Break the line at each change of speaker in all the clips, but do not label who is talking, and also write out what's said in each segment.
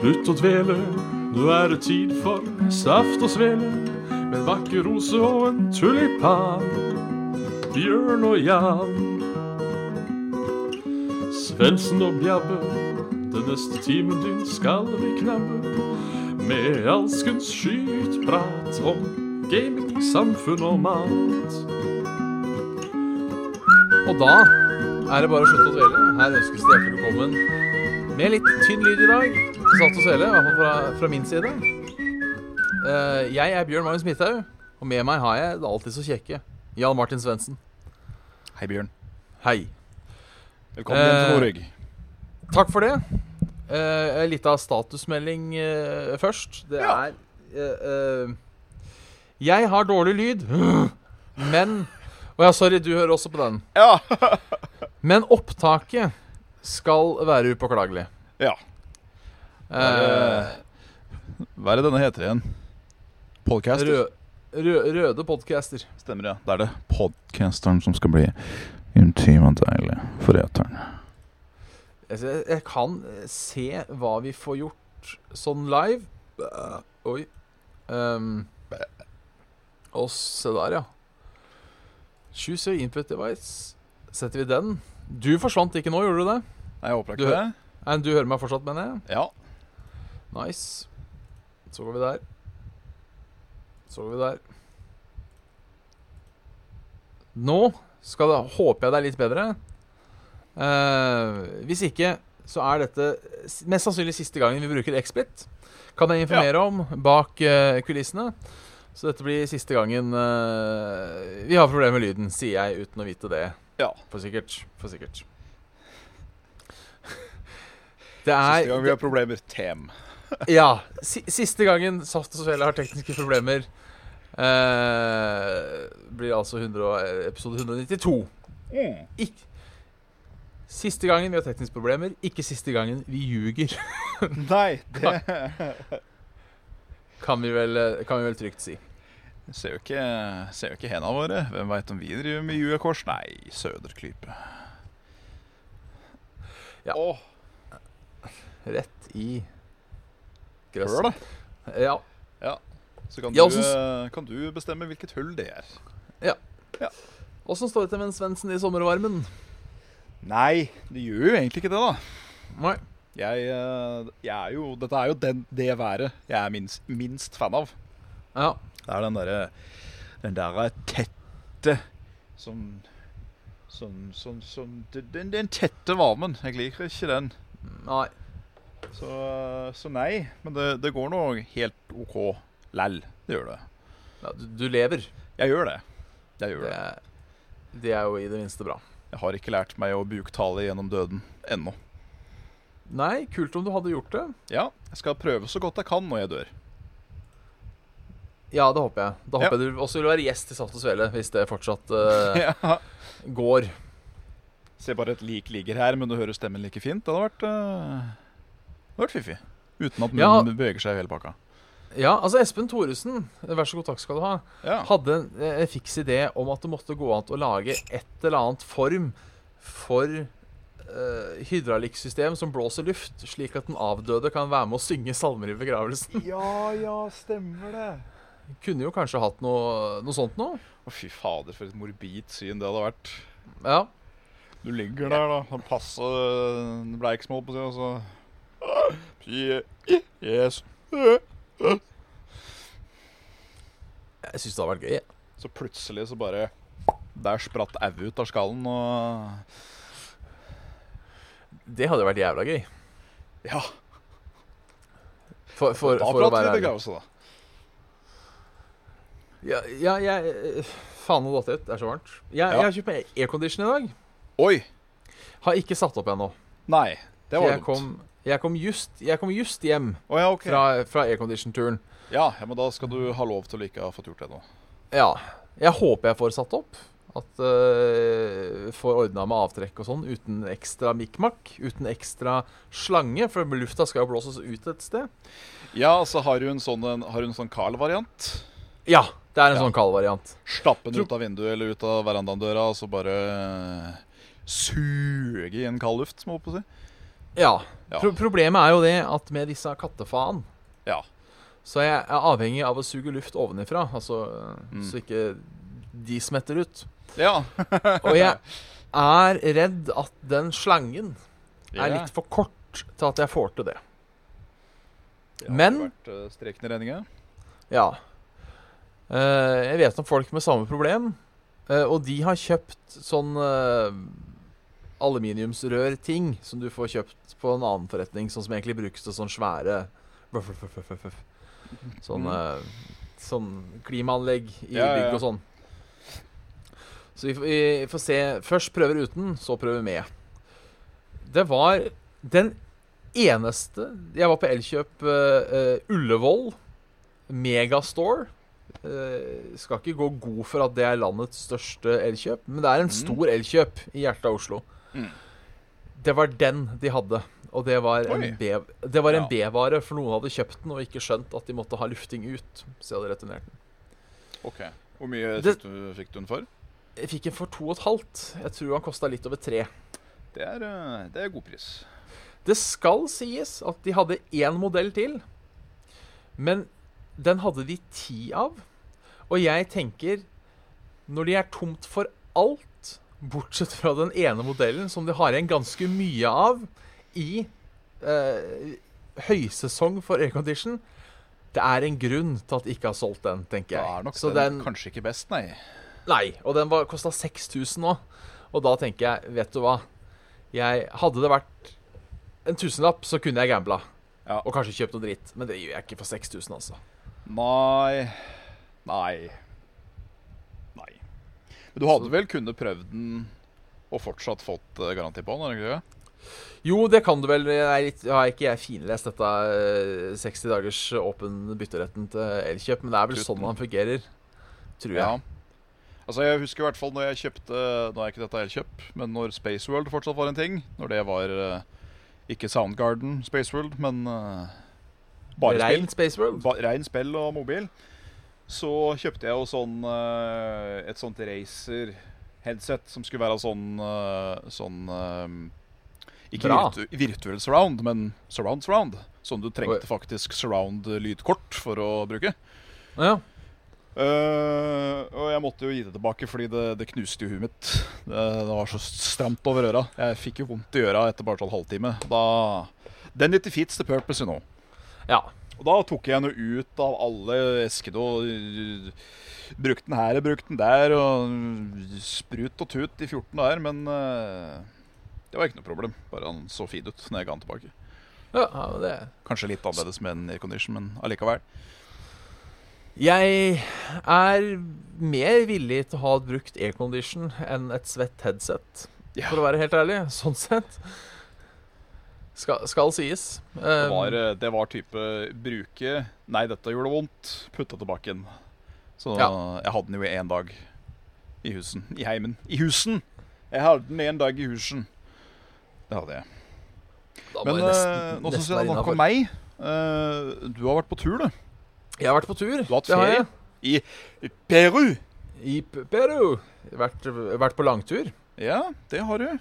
Slutt å dvele, nå er det tid for saft og svele. Med en vakker rose og en tulipan. Bjørn og Jan. Svendsen og Bjabbe, den neste timen din skal vi knabbe. Med alskens skytprat om gaming, samfunn og mat.
Og da er det bare å slutte å dvele. Her ønskes det hjertelig velkommen med litt tynn lyd i dag. til Saft og svele, i hvert fall fra, fra min side. Eh, jeg er Bjørn Magnus Midthaug, og med meg har jeg det alltid så kjekke Jan Martin Svendsen.
Hei, Bjørn.
Hei.
Velkommen hjem til
Eh,
Noreg.
Takk for det. Uh, en lita statusmelding eh, først. Det
Ja.
er eh, eh, Jeg har dårlig lyd, men Å ja, sorry, du hører også på den.
Ja.
Men opptaket skal være upåklagelig.
ja.
Eh,
Hva er det denne heter igjen? Podcaster?
rød, rød, røde podcaster.
Stemmer, ja. Det er det. Podcasteren som skal bli intim og deilig for eteren.
Altså, Jeg, jeg kan eh, se hva vi får gjort sånn live. Øh, Oi. Um, og se der, ja. Choose your input device. Setter vi den. Du forsvant ikke nå, gjorde du det?
Nei, jeg håper
Du-
ikke det.
Nei, du hører meg fortsatt, mener jeg.
Ja.
Nice. Så går vi der. Så går vi der. Nå skal det, håper jeg det er litt bedre. Eh, hvis ikke, så er dette s- mest sannsynlig siste gangen vi bruker XSplit. Kan jeg informere om bak eh, kulissene. Så dette blir siste gangen eh, vi har problemer med lyden, sier jeg uten å vite det.
Ja.
For sikkert. For sikkert. Det er
Siste gang vi har problemer. Tem.
ja. Si siste gangen Saft og Svele har tekniske problemer, eh, blir altså 100, og- episode 192.
Mm.
Ikk siste gangen vi har tekniske problemer, ikke siste gangen vi ljuger,
Nei, det
kan vi vel, eh, kan vi vel trygt si.
Ser jo ikke, ser jo ikke hendene våre. Hvem veit om vi driver med juekors? Nei, søderklype.
Ja.
Åh,
Rett i
hør
grøsset.
da.
Ja.
Så kan du,
Ja, og så-
eh, kan du bestemme hvilket hull det er.
Åssen står det til med en Svendsen i sommervarmen?
Nei, det gjør jo egentlig ikke det, da.
Nei.
Jeg, eh, jeg er jo, dette er jo den, det været jeg er minst, minst fan av.
Ja.
Det er den derre den der tette som Sånn, sånn, sånn den- den, den tette varmen. Jeg liker ikke den.
Nei.
Så, eh, så nei. Men det, det går nå helt OK læll. Det gjør det.
Ja, du, du lever.
Jeg gjør det. Jeg gjør
Det,
det.
er- det er jo i det minste bra.
Jeg har ikke lært meg å buktale gjennom døden ennå.
Nei, kult om du hadde gjort det.
Ja, jeg skal prøve så godt jeg kan når jeg dør.
Ja, det håper jeg. Da
Ja.
håper jeg du også vil være gjest i Saft og Svele, hvis det fortsatt eh,
Ja.
går.
Se bare et lik ligger her, men du hører stemmen like fint. Det hadde vært, eh, det hadde vært fiffig. Uten at
Ja.
munnen beveger seg i hele pakka.
Ja, altså Espen Thoresen, vær så god, takk skal du ha,
Ja.
hadde en eh, en fiks idé om at det måtte gå an å lage et eller annet form for eh, hydraulikksystem som blåser luft, slik at den avdøde kan være med å synge salmer i begravelsen.
ja, ja, stemmer det.
Kunne jo kanskje hatt noe, noe sånt nå.
Å, fy fader, for et morbid syn det hadde vært.
Ja.
Du ligger der, da. Han passer bleiksmål på seg, og så Fy- Yes.
Jeg syns det hadde vært gøy. jeg.
Så plutselig så bare Der spratt au ut av skallen, og
Det hadde vært jævla gøy.
Ja,
For, for,
da
for å
prater
være
vi
ærlig.
begravelse, da.
Ja, ja jeg eh, Faen, nå datt jeg ut. Det er så varmt. Jeg,
Ja.
jeg har kjøpt meg aircondition i dag.
Oi!
Har ikke satt opp ennå.
Nei, det
Så
var
jeg kom,
dumt.
jeg, kom just, jeg kom just hjem
Å ja, ok.
fra, fra aircondition-turen.
Ja, ja, men da skal du ha lov til å ikke ha fått gjort det nå.
Ja. Jeg håper jeg får satt opp. At uh, Får ordna med avtrekk og sånn uten ekstra mikmak. Uten ekstra slange, for lufta skal jo blåses ut et sted.
Ja, så har du en sånn, en, har du en sånn Carl-variant.
Ja, det er en
Ja.
sånn kald variant.
Slappe den
Tror-
ut av vinduet eller ut av verandadøra, og så bare eh, suge i en kald luft, som jeg holdt på å si.
Ja.
Ja.
Pro problemet er jo det at med disse kattefaen
Ja.
så er jeg er avhengig av å suge luft ovenifra, altså
Mm.
så ikke de smetter ut.
Ja.
Og jeg er redd at den slangen er litt for kort til at jeg får til det.
Det har
Men-
vært eh, strekende redninger.
Ja. Eh, jeg vet om folk med samme problem, eh, og de har kjøpt sånn uh, aluminiumsrørting som du får kjøpt på en annen forretning, sånn som egentlig brukes til sånn svære vuff, vuff, vuff, vuff, vuff. Sånn, eh, sånn klimaanlegg i
Mm. Ja, ja, ja.
bygg og sånn. Så vi, får- vi får se. Først prøver uten, så prøver med. Det var den eneste Jeg var på Elkjøp eh, eh, Ullevål. Megastore. Eh, skal ikke gå god for at det er landets største elkjøp, men det er en
Mm.
stor elkjøp i hjertet av Oslo.
Mm.
Det var den de hadde, og det var
Oi.
en B- det var en
Ja.
B-vare, for noen hadde kjøpt den og ikke skjønt at de måtte ha lufting ut. Så de hadde returnert den.
OK. Hvor mye
Det-
fikk du, fikk du den for?
Jeg fikk en for to og et halvt. Jeg tror han kosta litt over tre.
Det er, eh, det er god pris.
Det skal sies at de hadde én modell til, men den hadde de ti av. Og jeg tenker, når de er tomt for alt, bortsett fra den ene modellen, som de har igjen ganske mye av i eh, høysesong for aircondition Det er en grunn til at de ikke har solgt den, tenker
Da
jeg.
er nok
Så
den
den-
kanskje ikke best, nei.
Nei, og den var- kosta 6000 nå. Og da tenker jeg, vet du hva jeg, Hadde det vært en tusenlapp, så kunne jeg gambla.
Ja.
Og kanskje kjøpt noe dritt. Men det gjør jeg ikke for 6000, altså.
Nei. Nei. Nei. Men du hadde vel kunnet prøvd den og fortsatt fått eh, garanti på den? hadde du ikke det?
Jo, det kan du vel. Jeg er litt, har ikke jeg finlest dette eh, 60 dagers åpen bytteretten til Elkjøp, men det er vel
Slutten.
sånn han fungerer. Tror jeg.
Ja. Altså, Jeg husker i hvert fall når jeg kjøpte Nå er ikke dette elkjøp, men når Space World fortsatt var en ting. Når det var eh, ikke Soundgarden Space World, men eh, bare spill.
Rein Space World.
ba, rein spill og mobil, så kjøpte jeg jo sånn eh, et sånt racer-headset som skulle være sånn eh, sånn eh, ikke
Bra.
virtu virtuell surround, men surround surround. Som du
Oi.
trengte faktisk surround-lydkort for å bruke.
Ja.
Eh, og jeg måtte jo gi det tilbake, fordi det, det knuste jo huet mitt. Det, det var så stramt over øra. Jeg fikk jo vondt i øra etter bare sånn halvtime. Da Then it defeats the purpose, you know.
ja.
Og da tok jeg noe ut av alle eskene og øh, brukte den her og brukte den der. Og øh, sprut og tut i 14 dager, men øh, det var ikke noe problem. Bare han så fin ut når jeg ga den tilbake.
ja ja, det
Kanskje litt annerledes med en aircondition, men allikevel.
Jeg er mer villig til å ha et brukt aircondition enn et svett headset,
Ja.
for å være helt ærlig. Sånn sett. Skal, skal sies.
Det
Um,
var, øh, det var type bruke Nei, dette gjorde vondt. Putta tilbake igjen. Så
Ja.
jeg hadde den jo i én dag i husen. I heimen. I husen! Jeg hadde den én dag i husen. Det hadde jeg.
da må
Men
jeg nesten-
eh, nå
nesten
syns jeg
være
det er
innenfor.
nok om meg. Eh, du har vært på tur, du.
Jeg har vært på tur.
Du har hatt
Det
ferie.
jeg.
I Peru.
I P- Peru. Vært, vært på langtur,
Ja, det har du.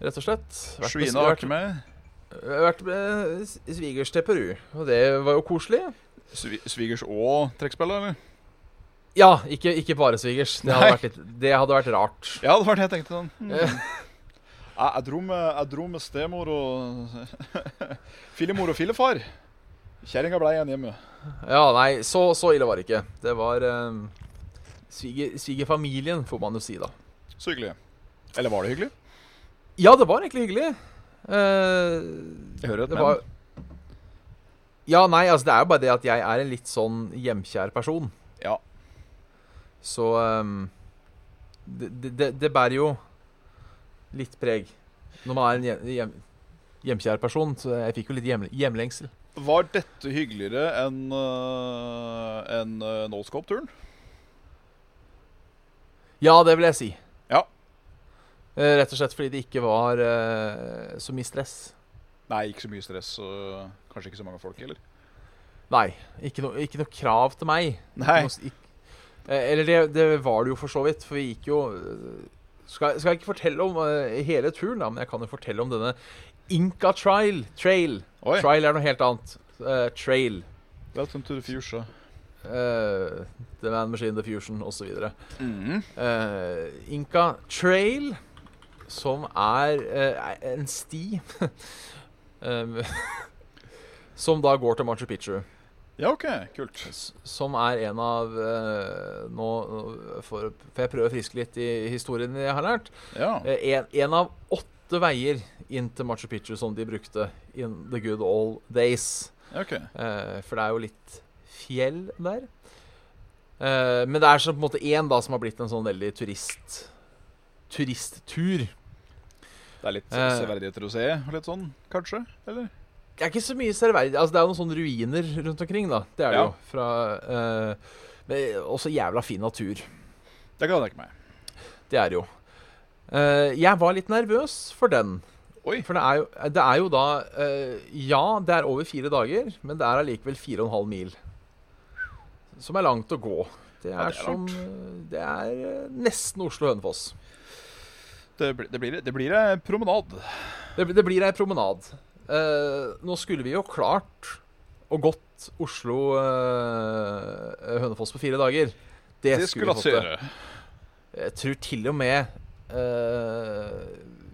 rett og slett. Vært med-
Svina har ikke med.
vært, vært med s- svigers til Peru, og det var jo koselig.
Svi svigers og trekkspiller, eller?
Ja, ikke, ikke bare svigers. Det hadde,
Nei.
vært litt, det hadde vært rart.
Ja, det var det jeg tenkte. Sånn. Hmm.
Eh.
Jeg, jeg, dro med, jeg dro med stemor og Fillemor og fillefar. Kjerringa blei igjen hjemme.
Ja, nei, så, så ille var det ikke. Det var eh, sviger, svigerfamilien, får man jo si, da.
Så hyggelig. Eller var det hyggelig?
Ja, det var egentlig hyggelig. Eh,
Jeg hører et
det
men.
var Ja, nei, altså, det er jo bare det at jeg er en litt sånn hjemkjær person.
Ja.
Så eh, det, det- det, det bærer jo litt preg når man er en hjem, hjem, hjemkjær person. Så jeg fikk jo litt hjem, hjemlengsel.
Var dette hyggeligere enn uh, enn øh, Noscope-turen?
Ja, det vil jeg si.
Ja.
Eh, rett og slett fordi det ikke var eh, så mye stress.
Nei, ikke så mye stress og kanskje ikke så mange folk heller.
Nei, ikke noe, ikke noe krav til meg.
Nei.
Ikke noe- ikk- Eh, Eller det, det var det jo eh, for så vidt, for eh, vi gikk jo øh, Skal, skal jeg ikke fortelle om øh, hele turen, da, men jeg kan jo fortelle om denne Inca Trial. Trail.
Oi.
Trial er noe helt annet. Eh, trail.
Welcome to the future.
eh, the Man Machine, The Fusion osv.
Mm.
Uh, Inca Trail, som er eh, en sti um, Som da går til Machu Picchu.
Ja, OK. Kult.
S- Som er en av eh, Nå nå får får jeg prøve å friske litt i historien jeg har lært.
Ja.
Eh, En, en av åtte veier inn til Machu Picchu som de brukte in the good old days.
ja, OK.
Eh, for det er jo litt fjell der. Eh, men det er så på en måte én da som har blitt en sånn veldig turist turisttur.
Det er litt
Eh.
severdigheter å se, litt sånn, kanskje? Eller?
Det er ikke så mye serverdig Altså, det er jo noen sånne ruiner rundt omkring, da. Det er det
Ja.
jo. Fra, eh, men også jævla fin natur.
Det kan jeg tenke meg.
Det er det jo. Eh, jeg var litt nervøs for den.
Oi.
For det er jo, det er jo da eh, Ja, det er over fire dager, men det er allikevel fire og en halv mil. Som er langt å gå. Det er,
Ja, det er
som
langt.
eh, Det er eh, nesten Oslo-Hønefoss.
Det, blir- det, blir, det blir en promenad.
Det, det blir ei promenad. Eh, nå skulle vi jo klart og gått Oslo-Hønefoss på fire dager. Det,
Det skulle
skulle vi
altså
fått til.
gjøre.
Jeg tror til og med eh,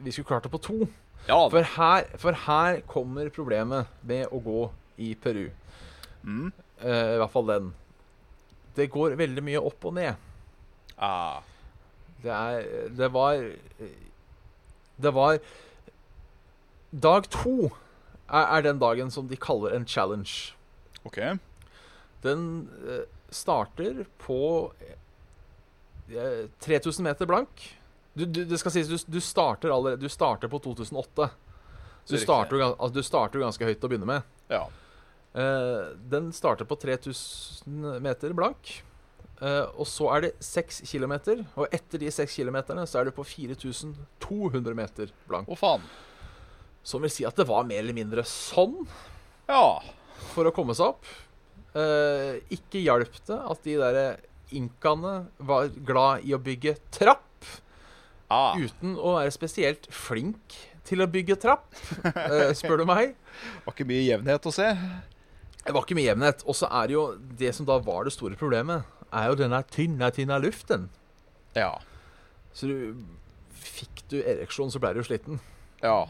vi skulle klart det på to.
Ja,
For her, for her kommer problemet med å gå i Peru.
mm.
Eh, I hvert fall den. Det går veldig mye opp og ned.
ah.
Det er Det var Det var Dag to er, er den dagen som de kaller en challenge.
OK.
Den eh, starter på eh, 3000 meter blank. Du, du, det skal sies, du, du starter allerede Du starter på 2008. Så du
Det er
starter, jo gan- altså, du starter jo ganske høyt til å begynne med.
Ja.
Eh, den starter på 3000 meter blank. Eh, og så er det 6 km, og etter de 6 km så er det på 4200 meter blank.
Å, faen.
Som vil si at det var mer eller mindre sånn
Ja.
for å komme seg opp. Eh, ikke hjalp det at de der inkaene var glad i å bygge trapp,
Ah.
uten å være spesielt flink til å bygge trapp, eh, spør du meg.
Var ikke mye jevnhet å se.
Det var ikke med jevnhet. Og så er det jo det som da var det store problemet, er jo denne tynne, tynne luften.
Ja.
Så du fikk du ereksjon, så ble du jo sliten.
Ja.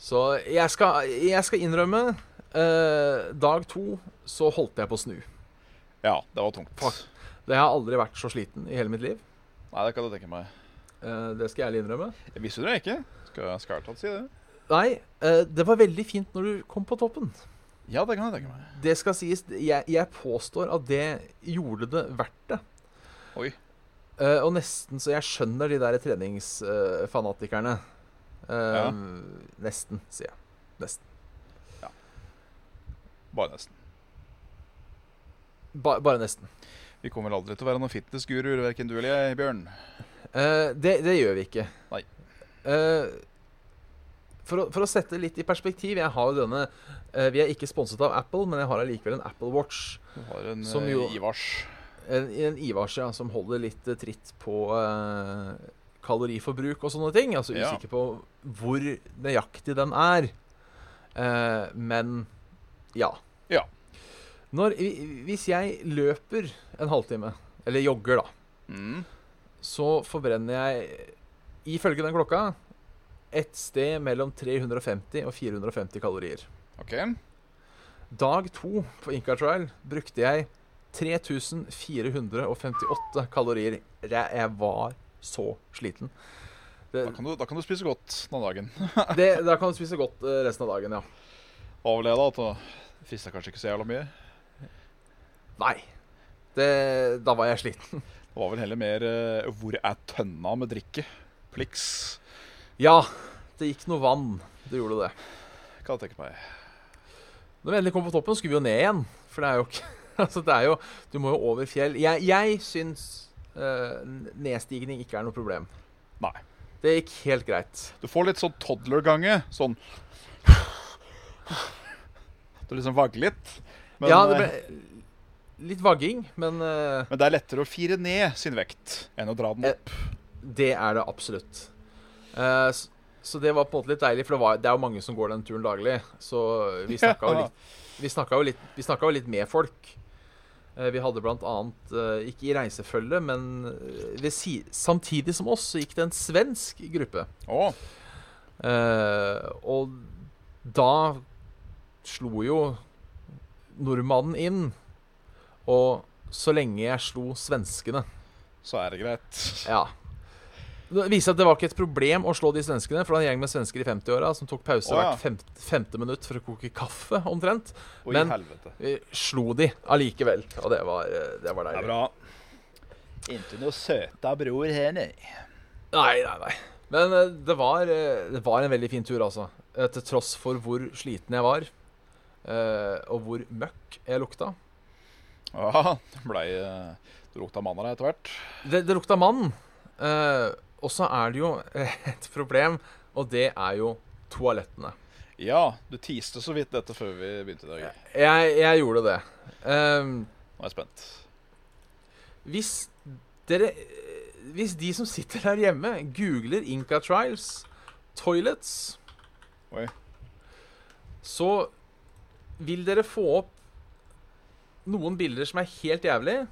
Så jeg skal, jeg skal innrømme eh, Dag to så holdt jeg på å snu.
Ja, det var tungt.
Fuck. Det har aldri vært så sliten i hele mitt liv.
Nei, det kan jeg tenke meg.
Eh, det skal jeg ærlig innrømme.
Jeg misunner deg ikke. Skal jeg skal jeg tatt si det?
Nei, eh, det var veldig fint når du kom på toppen.
Ja, det kan jeg tenke meg.
Det skal sies, jeg, jeg påstår at det gjorde det verdt det.
Oi.
Eh, og nesten så jeg skjønner de der treningsfanatikerne. Eh,
Ja.
Nesten, sier jeg. Nesten.
Bare nesten.
Ba, bare nesten.
Vi kommer vel aldri til å være noen fitnessguruer, verken du eller jeg, Bjørn.
Eh, det, det gjør vi ikke.
Nei.
Eh, for, å, for å sette litt i perspektiv Jeg har jo denne eh, Vi er ikke sponset av Apple, men jeg har allikevel en Apple Watch.
Du har en
Som
eh,
jo-
Ivars.
En, en Ivars ja, som holder litt eh, tritt på eh, kaloriforbruk og sånne ting. Altså
Ja.
usikker på hvor nøyaktig den er. Eh, men ja.
Ja.
Når, i- hvis jeg løper en halvtime, eller jogger, da,
Mm.
så forbrenner jeg, eh, ifølge den klokka, et sted mellom 350 og 450 kalorier.
OK.
Dag to på Inca Trial brukte jeg 3458 kalorier. Jeg, jeg var så sliten. Det,
Da kan, du, da kan du spise godt denne dagen.
det, da kan du spise godt eh, resten av dagen, ja.
Avleda at det frista kanskje ikke så jævla mye.
Nei. Det, da var jeg sliten.
Det var vel heller mer eh, 'hvor er tønna med drikke'? Plix,
Ja, det gikk noe vann. Det gjorde det.
kan jeg tenke meg.
Når vi endelig kom på toppen, skulle vi jo ned igjen. For det er jo ikke Altså, det er jo Du må jo over fjell. Jeg, jeg syns eh, nedstigning ikke er noe problem.
Nei.
Det gikk helt greit.
Du får litt sånn toddlergange. Sånn Du liksom vagger litt. Men,
ja, det
eh,
ble litt vagging, men eh,
men det er lettere å fire ned sin vekt enn å dra den
Eh,
opp.
det er det absolutt. Eh, s- Så det var på en måte litt deilig, for det, var, det er jo mange som går den turen daglig. Så Eh, vi snakka jo,
Ja.
litt- vi snakket jo, litt- vi snakket jo litt med folk. Eh, Vi hadde blant annet, eh, ikke i reisefølge, men eh, ved si, samtidig som oss så gikk det en svensk gruppe.
Å,
Eh, og da slo jo nordmannen inn. Og så lenge jeg slo svenskene
så er det greit.
Ja. Det viser at det var ikke et problem å slå de svenskene, for det var en gjeng med svensker i 50-åra som tok pause
Å, ja.
hvert femte, femte minutt for å koke kaffe, omtrent.
Og
Men-
i helvete.
Vi Eh, slo de allikevel, og det var, eh, det var
Det er
deilig.
bra. Ikke noe søta bror her, nei.
Nei, nei, nei. Men eh, det var, eh, det var en veldig fin tur, altså. Eh, Til tross for hvor sliten jeg var, eh, og hvor møkk jeg lukta.
Ja, det blei eh, Det lukta mann av deg etter hvert.
Det, det lukta mann. Eh, og så er det jo et problem, og det er jo toalettene.
Ja, du tiste så vidt dette før vi begynte i dag.
Jeg, jeg gjorde det. Ehm,
Nå er jeg spent.
Hvis dere eh, Hvis de som sitter der hjemme, googler Inca Trials Toilets
Oi.
Så vil dere få opp noen bilder som er helt jævlig.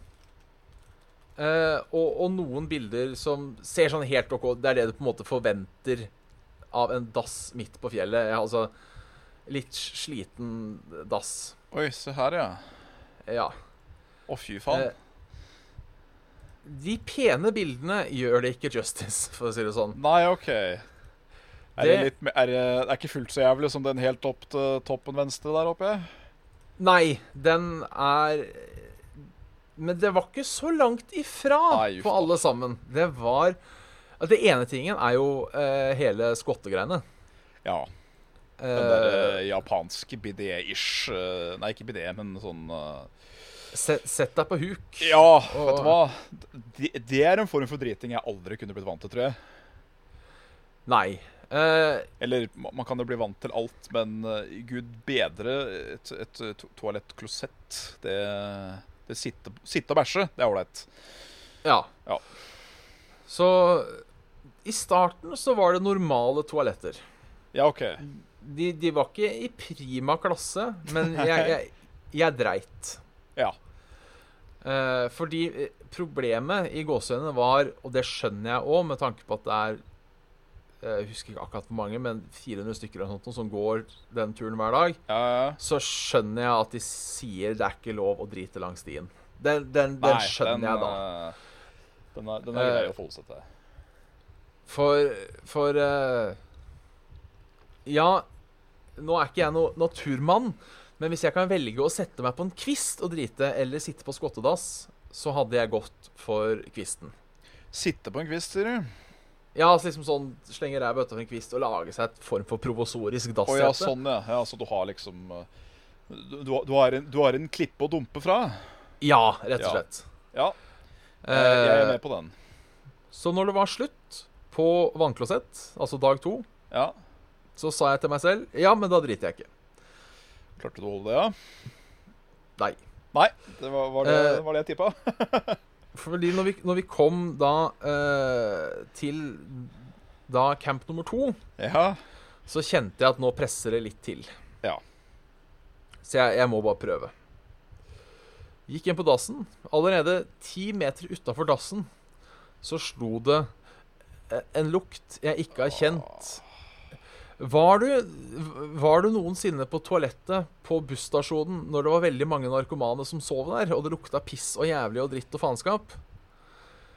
eh, og, og noen bilder som ser sånn helt ok Det er det du på en måte forventer av en dass midt på fjellet. Ja, altså litt sliten dass.
Oi, se her, ja.
Ja.
Å, fy
Eh,
faen.
De pene bildene gjør det ikke justice, for å si det sånn.
Nei, OK. Er det,
Det-
litt, me- er det, det er ikke fullt så jævlig som den helt opp til toppen venstre der oppe?
Nei, den er Men det var ikke så langt ifra
Nei, uff
på
da.
alle sammen. Det var Det ene tingen er jo eh, hele skottegreiene.
Ja.
Eh,
Den der eh, japanske bidé-ish eh, Nei, ikke bidé, men sånn eh,
se, sett deg på huk.
Ja,
Og-
vet du hva? Det, det er en form for driting jeg aldri kunne blitt vant til, tror jeg.
Nei. Eh,
Eller ma- man kan jo bli vant til alt, men eh, gud bedre et, et eh, to- toalettklosett. Det, det sitte, sitte og bæsje, det er ålreit.
ja.
Ja.
Så i starten så var det normale toaletter.
Ja, OK.
De, de var ikke i prima klasse, men jeg, jeg, jeg dreit.
Ja.
Eh, fordi eh, problemet i gåseøynene var, og det skjønner jeg òg, med tanke på at det er eh, Jeg husker ikke akkurat hvor mange, men 400 stykker eller noe sånt som går den turen hver dag.
ja, ja.
Så skjønner jeg at de sier det er ikke lov å drite langs stien. Den, den, den skjønner jeg
eh,
da.
Den er, den er grei
Eh,
å forholde seg til.
For, for eh, Ja, nå er ikke jeg noe naturmann, men hvis jeg kan velge å sette meg på en kvist og drite, eller sitte på skottedass, så hadde jeg gått for kvisten.
Sitte på en kvist, sier du?
Ja, altså liksom sånn slenge ræva utafor en kvist og lage seg et form for provosorisk
Å ja,
dassete.
sånn, ja. ja så du har liksom eh, Du, du, har- du, har en, du har en klippe å dumpe fra?
ja, rett og
Ja.
slett.
Ja, jeg, jeg er
Eh,
med på den.
så når det var slutt på vannklosett, altså dag to,
Ja.
så sa jeg til meg selv ja, men da driter jeg ikke.
Klarte du å holde det, ja?
Nei.
Nei, det var, var, det,
Eh,
var det jeg tippa.
Fordi når vi, når vi kom da eh, til da camp nummer to,
Ja.
så kjente jeg at nå presser det litt til.
Ja.
Så jeg, jeg må bare prøve. Gikk inn på dassen. Allerede ti meter utafor dassen så slo det eh, en lukt jeg ikke har kjent. Var du, var du noensinne på toalettet på busstasjonen når det var veldig mange narkomane som sov der, og det lukta piss og jævlig og dritt og faenskap?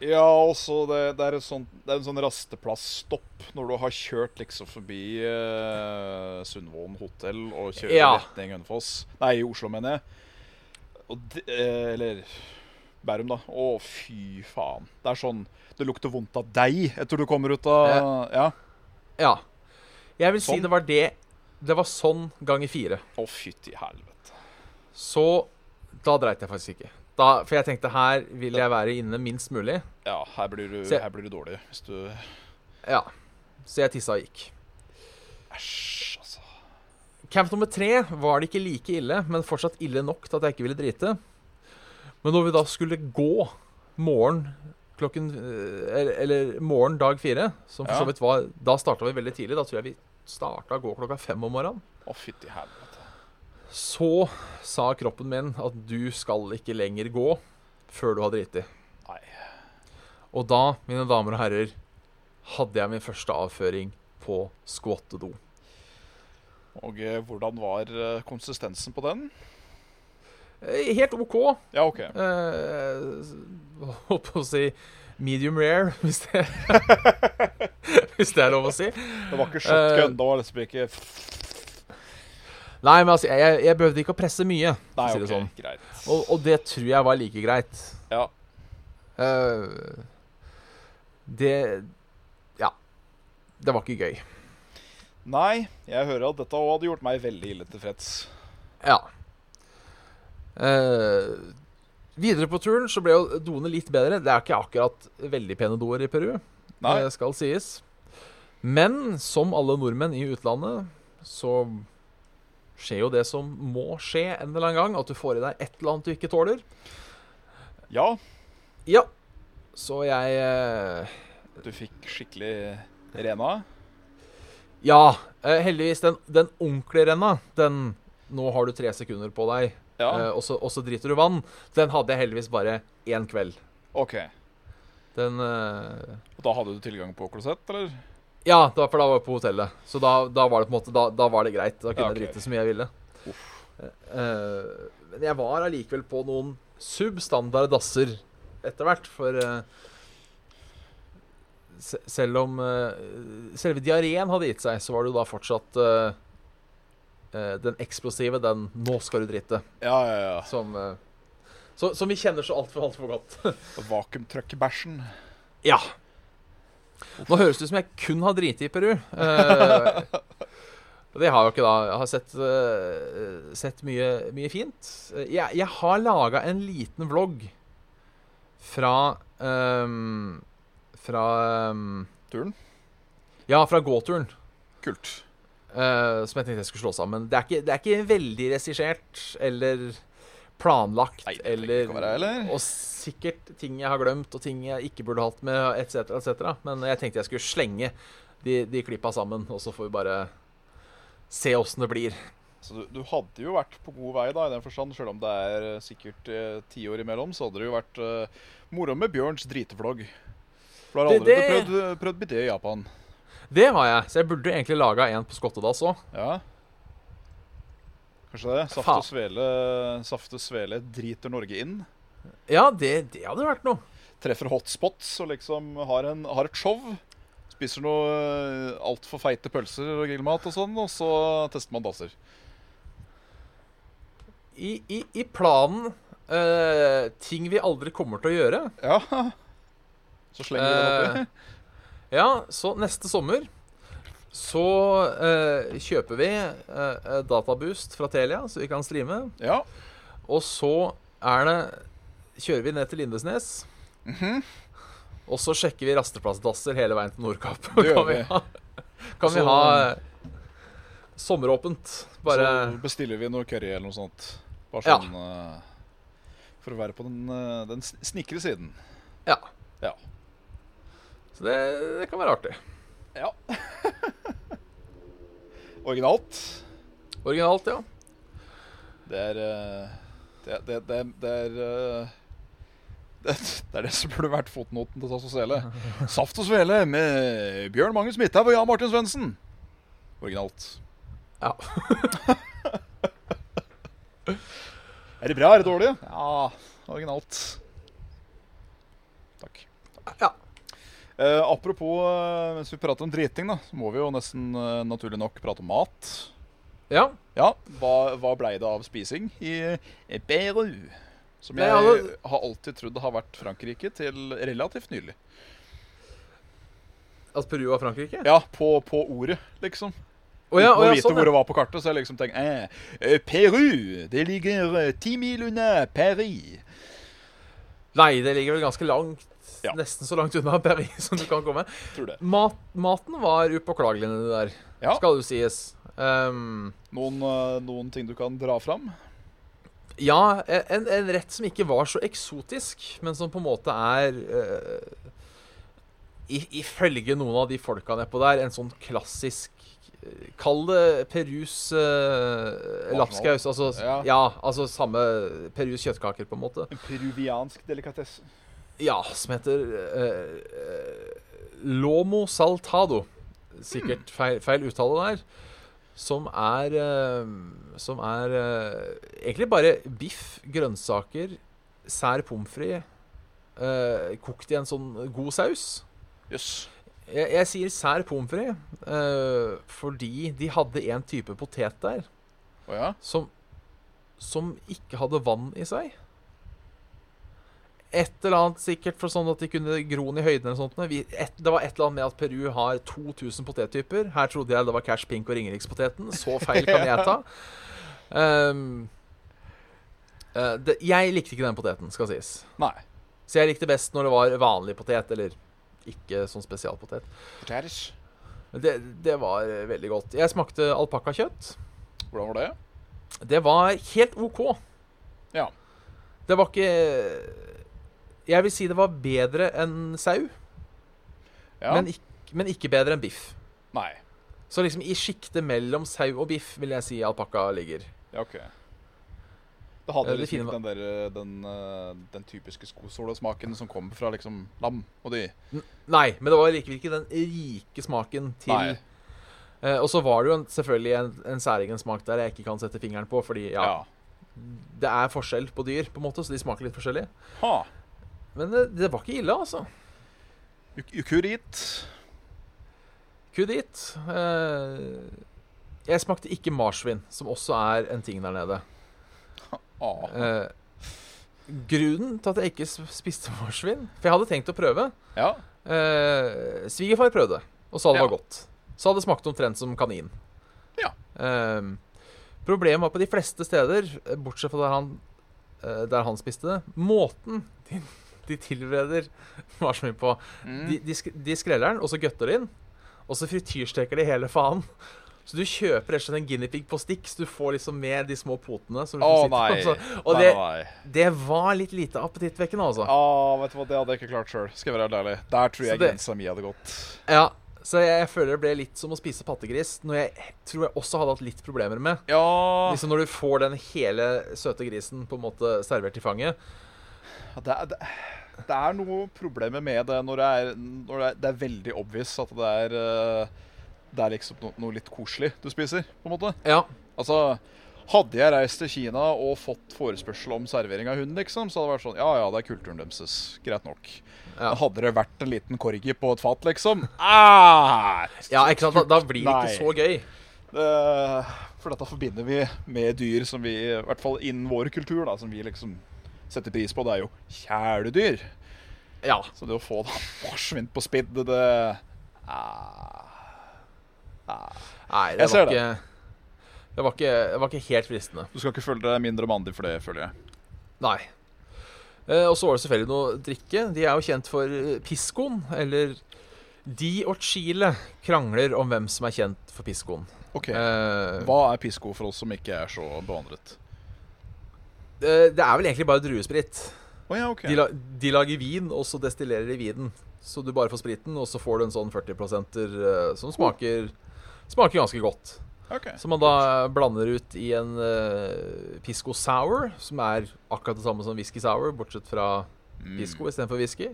Ja, også det, det, er et sånt, det er en sånn rasteplassstopp når du har kjørt liksom forbi eh, Sundvolden hotell og kjører
Ja.
retning Hønefoss. Nei, i Oslo, mener jeg. Og det, eh, eller Bærum, da. Å, fy faen. Det er sånn Det lukter vondt av deg etter du kommer ut av Ja.
Ja. Jeg vil si
Sånn.
det var det. Det var sånn ganger fire.
Å, fytti helvete.
Så da dreit jeg faktisk ikke. Da, for jeg tenkte her vil jeg være inne minst mulig.
Ja, her blir du,
Se.
her blir du dårlig hvis du
Ja. Så jeg tissa og gikk.
Æsj, altså.
Camp nummer tre var det ikke like ille, men fortsatt ille nok til at jeg ikke ville drite. Men når vi da skulle gå morgen klokken eh, Eller, eller morgen dag fire, som for
Ja.
så vidt var Da starta vi veldig tidlig. Da tror jeg vi starta å gå klokka fem om morgenen.
Å, fytti helvete.
Så sa kroppen min at du skal ikke lenger gå før du har driti.
Nei.
Og da, mine damer og herrer, hadde jeg min første avføring på skvottedo.
Og eh, hvordan var eh, konsistensen på den?
Eh, Helt OK.
Ja, OK.
Eh, s- holdt på å si medium rare, hvis det, hvis det er lov å si.
Det var ikke shotgun.
Eh,
det var liksom ikke
Nei, men altså, jeg, jeg behøvde ikke å presse mye, for
Nei,
å si
OK,
det sånn.
greit.
Og, og det tror jeg var like greit.
Ja.
Eh, det Ja. Det var ikke gøy.
Nei, jeg hører at dette også hadde gjort meg veldig ille tilfreds.
Ja. Eh, videre på turen så ble jo doene litt bedre. Det er ikke akkurat veldig pene doer i Peru,
Nei.
eh, skal sies. Men som alle nordmenn i utlandet, så skjer jo det som må skje en eller annen gang. At du får i deg et eller annet du ikke tåler.
Ja,
Ja. Så jeg eh,
du fikk skikkelig rena.
Ja. eh, heldigvis, den, den ordentlige renna, den Nå har du tre sekunder på deg,
Ja,
eh, og, så, og så driter du vann. Den hadde jeg heldigvis bare én kveld.
OK.
Den eh,
Og da hadde du tilgang på klosett, eller?
Ja, da, for da var jeg på hotellet. Så da, da var det på en måte Da, da var det greit. Da kunne
Ok.
jeg drite så mye jeg ville. Eh, men jeg var allikevel på noen substandard dasser etter hvert, for eh, se Selv om eh, selve diareen hadde gitt seg, så var det jo da fortsatt eh, eh, den eksplosive, den 'nå skal du drite',
Ja, ja, ja.
som, eh, så, som vi kjenner så altfor, altfor godt.
Vakuumtrøkkebæsjen.
Ja. Nå høres det ut som jeg kun har driti i Peru. Eh, det har jeg jo ikke, da. Jeg har sett, eh, sett mye, mye fint. Eh, Jeg, jeg har laga en liten vlogg fra ehm, Fra ehm,
Turen?
Ja, fra gåturen.
Kult.
eh, som jeg tenkte jeg skulle slå sammen. Det er ikke, det er ikke veldig regissert eller planlagt
Nei, det trenger
eller,
ikke å være, eller?
Og sikkert ting jeg har glemt, og ting jeg ikke burde hatt med, etc., etc. Men jeg tenkte jeg skulle slenge de, de klippa sammen, og så får vi bare se åssen det blir.
Så du, du hadde jo vært på god vei, da, i den forstand. Selv om det er eh, sikkert eh, ti år imellom, så hadde det jo vært eh, moro med Bjørns dritevlogg. For du har
Det-
allerede
det-
prøvd, prøvd bidé i Japan.
Det har jeg, så jeg burde egentlig laga en på skottedass òg.
Ja. Kanskje det. Saft
Faen.
og svele, saft og svele driter Norge inn.
Ja, det, det hadde vært noe.
Treffer hotspots og liksom har, en, har et show. Spiser noe eh, altfor feite pølser og grillmat og sånn, og så tester man dasser.
I, i, i planen eh, ting vi aldri kommer til å gjøre,
Ja. Så slenger du den
Eh,
oppi.
Ja, så neste sommer så eh, kjøper vi eh, databoost fra Telia, så vi kan streame.
Ja.
Og så er det Kjører vi ned til Lindesnes.
Mhm.
Og så sjekker vi rasteplassdasser hele veien til Nordkapp.
Det gjør
kan
vi.
vi ha, kan vi
Så-
ha eh, sommeråpent? Bare
Så bestiller vi noe curry eller noe sånt. Bare
Ja.
sånn eh, For å være på den, eh, den sn- snikre siden.
Ja.
Ja.
Så det, det kan være artig.
ja. Originalt.
Originalt, ja.
Det er eh, Det, det, det, det er eh, det, det er det som burde vært fotnoten til Saft og Svele. Saft og Svele med Bjørn Magnus Midthaug og Jan Martin Svendsen. Originalt.
Ja.
Er det bra? Er det dårlig? Ja, originalt. Takk.
ja.
Eh, apropos eh, mens vi prater om driting, da, så må vi jo nesten eh, naturlig nok prate om mat.
ja.
Ja, hva, hå blei det av spising i eh, Peru? Som
Nei,
jeg
alle-
har alltid trodd har vært Frankrike til relativt nylig.
At Altså, Peru var Frankrike?
Ja, på, på ordet, liksom.
Å ja,
Uten
å
å
ja,
vite
sånn,
hvor
ja.
det var på kartet, så jeg liksom tenkte eh, eh, Peru, det ligger eh, ti mil unna Paris.
Nei, det ligger vel ganske langt.
Ja.
Nesten så langt unna Paris som du kan komme.
Tror det.
Mat, maten var upåklagelig nedi der,
Ja.
skal det jo sies. Ehm,
Noen, eh, noen ting du kan dra fram?
Ja, en, en rett som ikke var så eksotisk, men som på en måte er eh, i- Ifølge noen av de folka nedpå der, en sånn klassisk eh, Kall det Perus eh, lapskaus. Altså, ja.
Ja.
altså samme Perus kjøttkaker, på en måte.
En peruviansk delikatesse.
Ja, som heter eh, eh, Lomo saltado. Sikkert feil, feil uttale der. Som er eh, Som er eh, egentlig bare biff, grønnsaker, sær pommes frites, eh, kokt i en sånn god saus.
Jøss.
Jeg, jeg sier sær pommes frites eh, fordi de hadde en type potet der
Å ja?
som, som ikke hadde vann i seg. Et eller annet sikkert for sånn at de kunne gro den i høyden eller sånt. Vi, et, det var et eller annet med at Peru har 2000 potettyper. Her trodde jeg det var Cash Pink og Ringerikspoteten. Så feil kan jeg ta. Ehm, eh, det, jeg likte ikke den poteten, skal sies.
Nei.
Så jeg likte best når det var vanlig potet, eller ikke sånn spesialpotet.
Potetis.
Men Det, det var eh, veldig godt. Jeg smakte alpakkakjøtt.
Hvordan var det?
Det var helt OK.
Ja.
Det var ikke Jeg vil si det var bedre enn sau,
ja.
men, ikke, men ikke bedre enn biff.
Nei.
Så liksom i sjiktet mellom sau og biff vil jeg si alpakka ligger.
Ja, OK. Det
Eh,
hadde
det
liksom
fine
ikke den, der, den, eh, den typiske skosålesmaken som kom fra liksom lam og dyr.
Nei, men det var likevel ikke den rike smaken til
Nei.
Eh, Og så var det jo en, selvfølgelig en, en særegen smak der jeg ikke kan sette fingeren på, fordi ja,
Ja.
det er forskjell på dyr, på en måte, så de smaker litt forskjellig.
Ha.
Men det, det var ikke ille, altså.
Uk- Ukurit.
Ku dit. Eh, jeg smakte ikke marsvin, som også er en ting der nede.
Ah.
Eh, grunnen til at jeg ikke sp- spiste marsvin For jeg hadde tenkt å prøve.
Ja.
Eh, svigerfar prøvde og sa det
Ja.
var godt. Sa det smakte omtrent som kanin.
Ja.
Eh, problemet var på de fleste steder, eh, bortsett fra der han, eh, der han spiste det, måten de, de tilbereder marsvin på.
Mm.
De, de, sk- de skreller den, og så gøtter de den. Og så frityrsteker de hele faen. Så du kjøper rett og slett en guinea pig på stikk, så du får liksom med de små potene. Som du får
Å,
sitte på.
nei.
Så- Og
nei,
det,
nei.
det var litt lite appetittvekkende, altså.
Ah, vet du hva, Det hadde jeg ikke klart sjøl. Skal jeg være helt ærlig. Der
Så
tror jeg
det-
grensa mi hadde gått.
Ja, så jeg føler det ble litt som å spise pattegris, noe jeg tror jeg også hadde hatt litt problemer med.
Ja
Liksom Når du får den hele søte grisen på en måte servert i fanget.
det, er- det, det er noe problemer med det når det er, når det er, det er veldig obvious at det er eh, Det er liksom no, noe litt koselig du spiser, på en måte.
Ja,
Altså, hadde jeg reist til Kina og fått forespørsel om servering av hund, liksom, så hadde det vært sånn Ja ja, det er kulturen deres. Greit nok.
Ja.
Men Hadde det vært en liten korgi på et fat, liksom ah!
ja ikke sant? Da, da blir det ikke
Nei.
så gøy.
Eh, For dette forbinder vi med dyr som vi, i hvert fall innen vår kultur, da, som vi liksom setter pris på. Det er jo kjæledyr.
Ja.
Så det å få da marsvin på spidd, det, det ah,
Nei, det
Jeg ser
var ikke det var, ikke, det var ikke helt fristende.
Du skal ikke føle deg mindre mandig for det, føler jeg.
Nei. Eh, og så var det selvfølgelig noe drikke. De er jo kjent for eh, piscoen, eller De og Chile krangler om hvem som er kjent for piscoen.
Ok,
Eh,
Hva er pisco for oss som ikke er så bevandret?
eh, det er vel egentlig bare druesprit.
Å ja, ok.
De, la, de lager vin, og så destillerer de vinen. Så du bare får spriten, og så får du en sånn 40-prosenter eh, som smaker, smaker ganske godt.
Ok.
Som man da blander ut i en eh, pisco sour, som er akkurat det samme som whisky sour, bortsett fra
Mm.
pisco istedenfor whisky.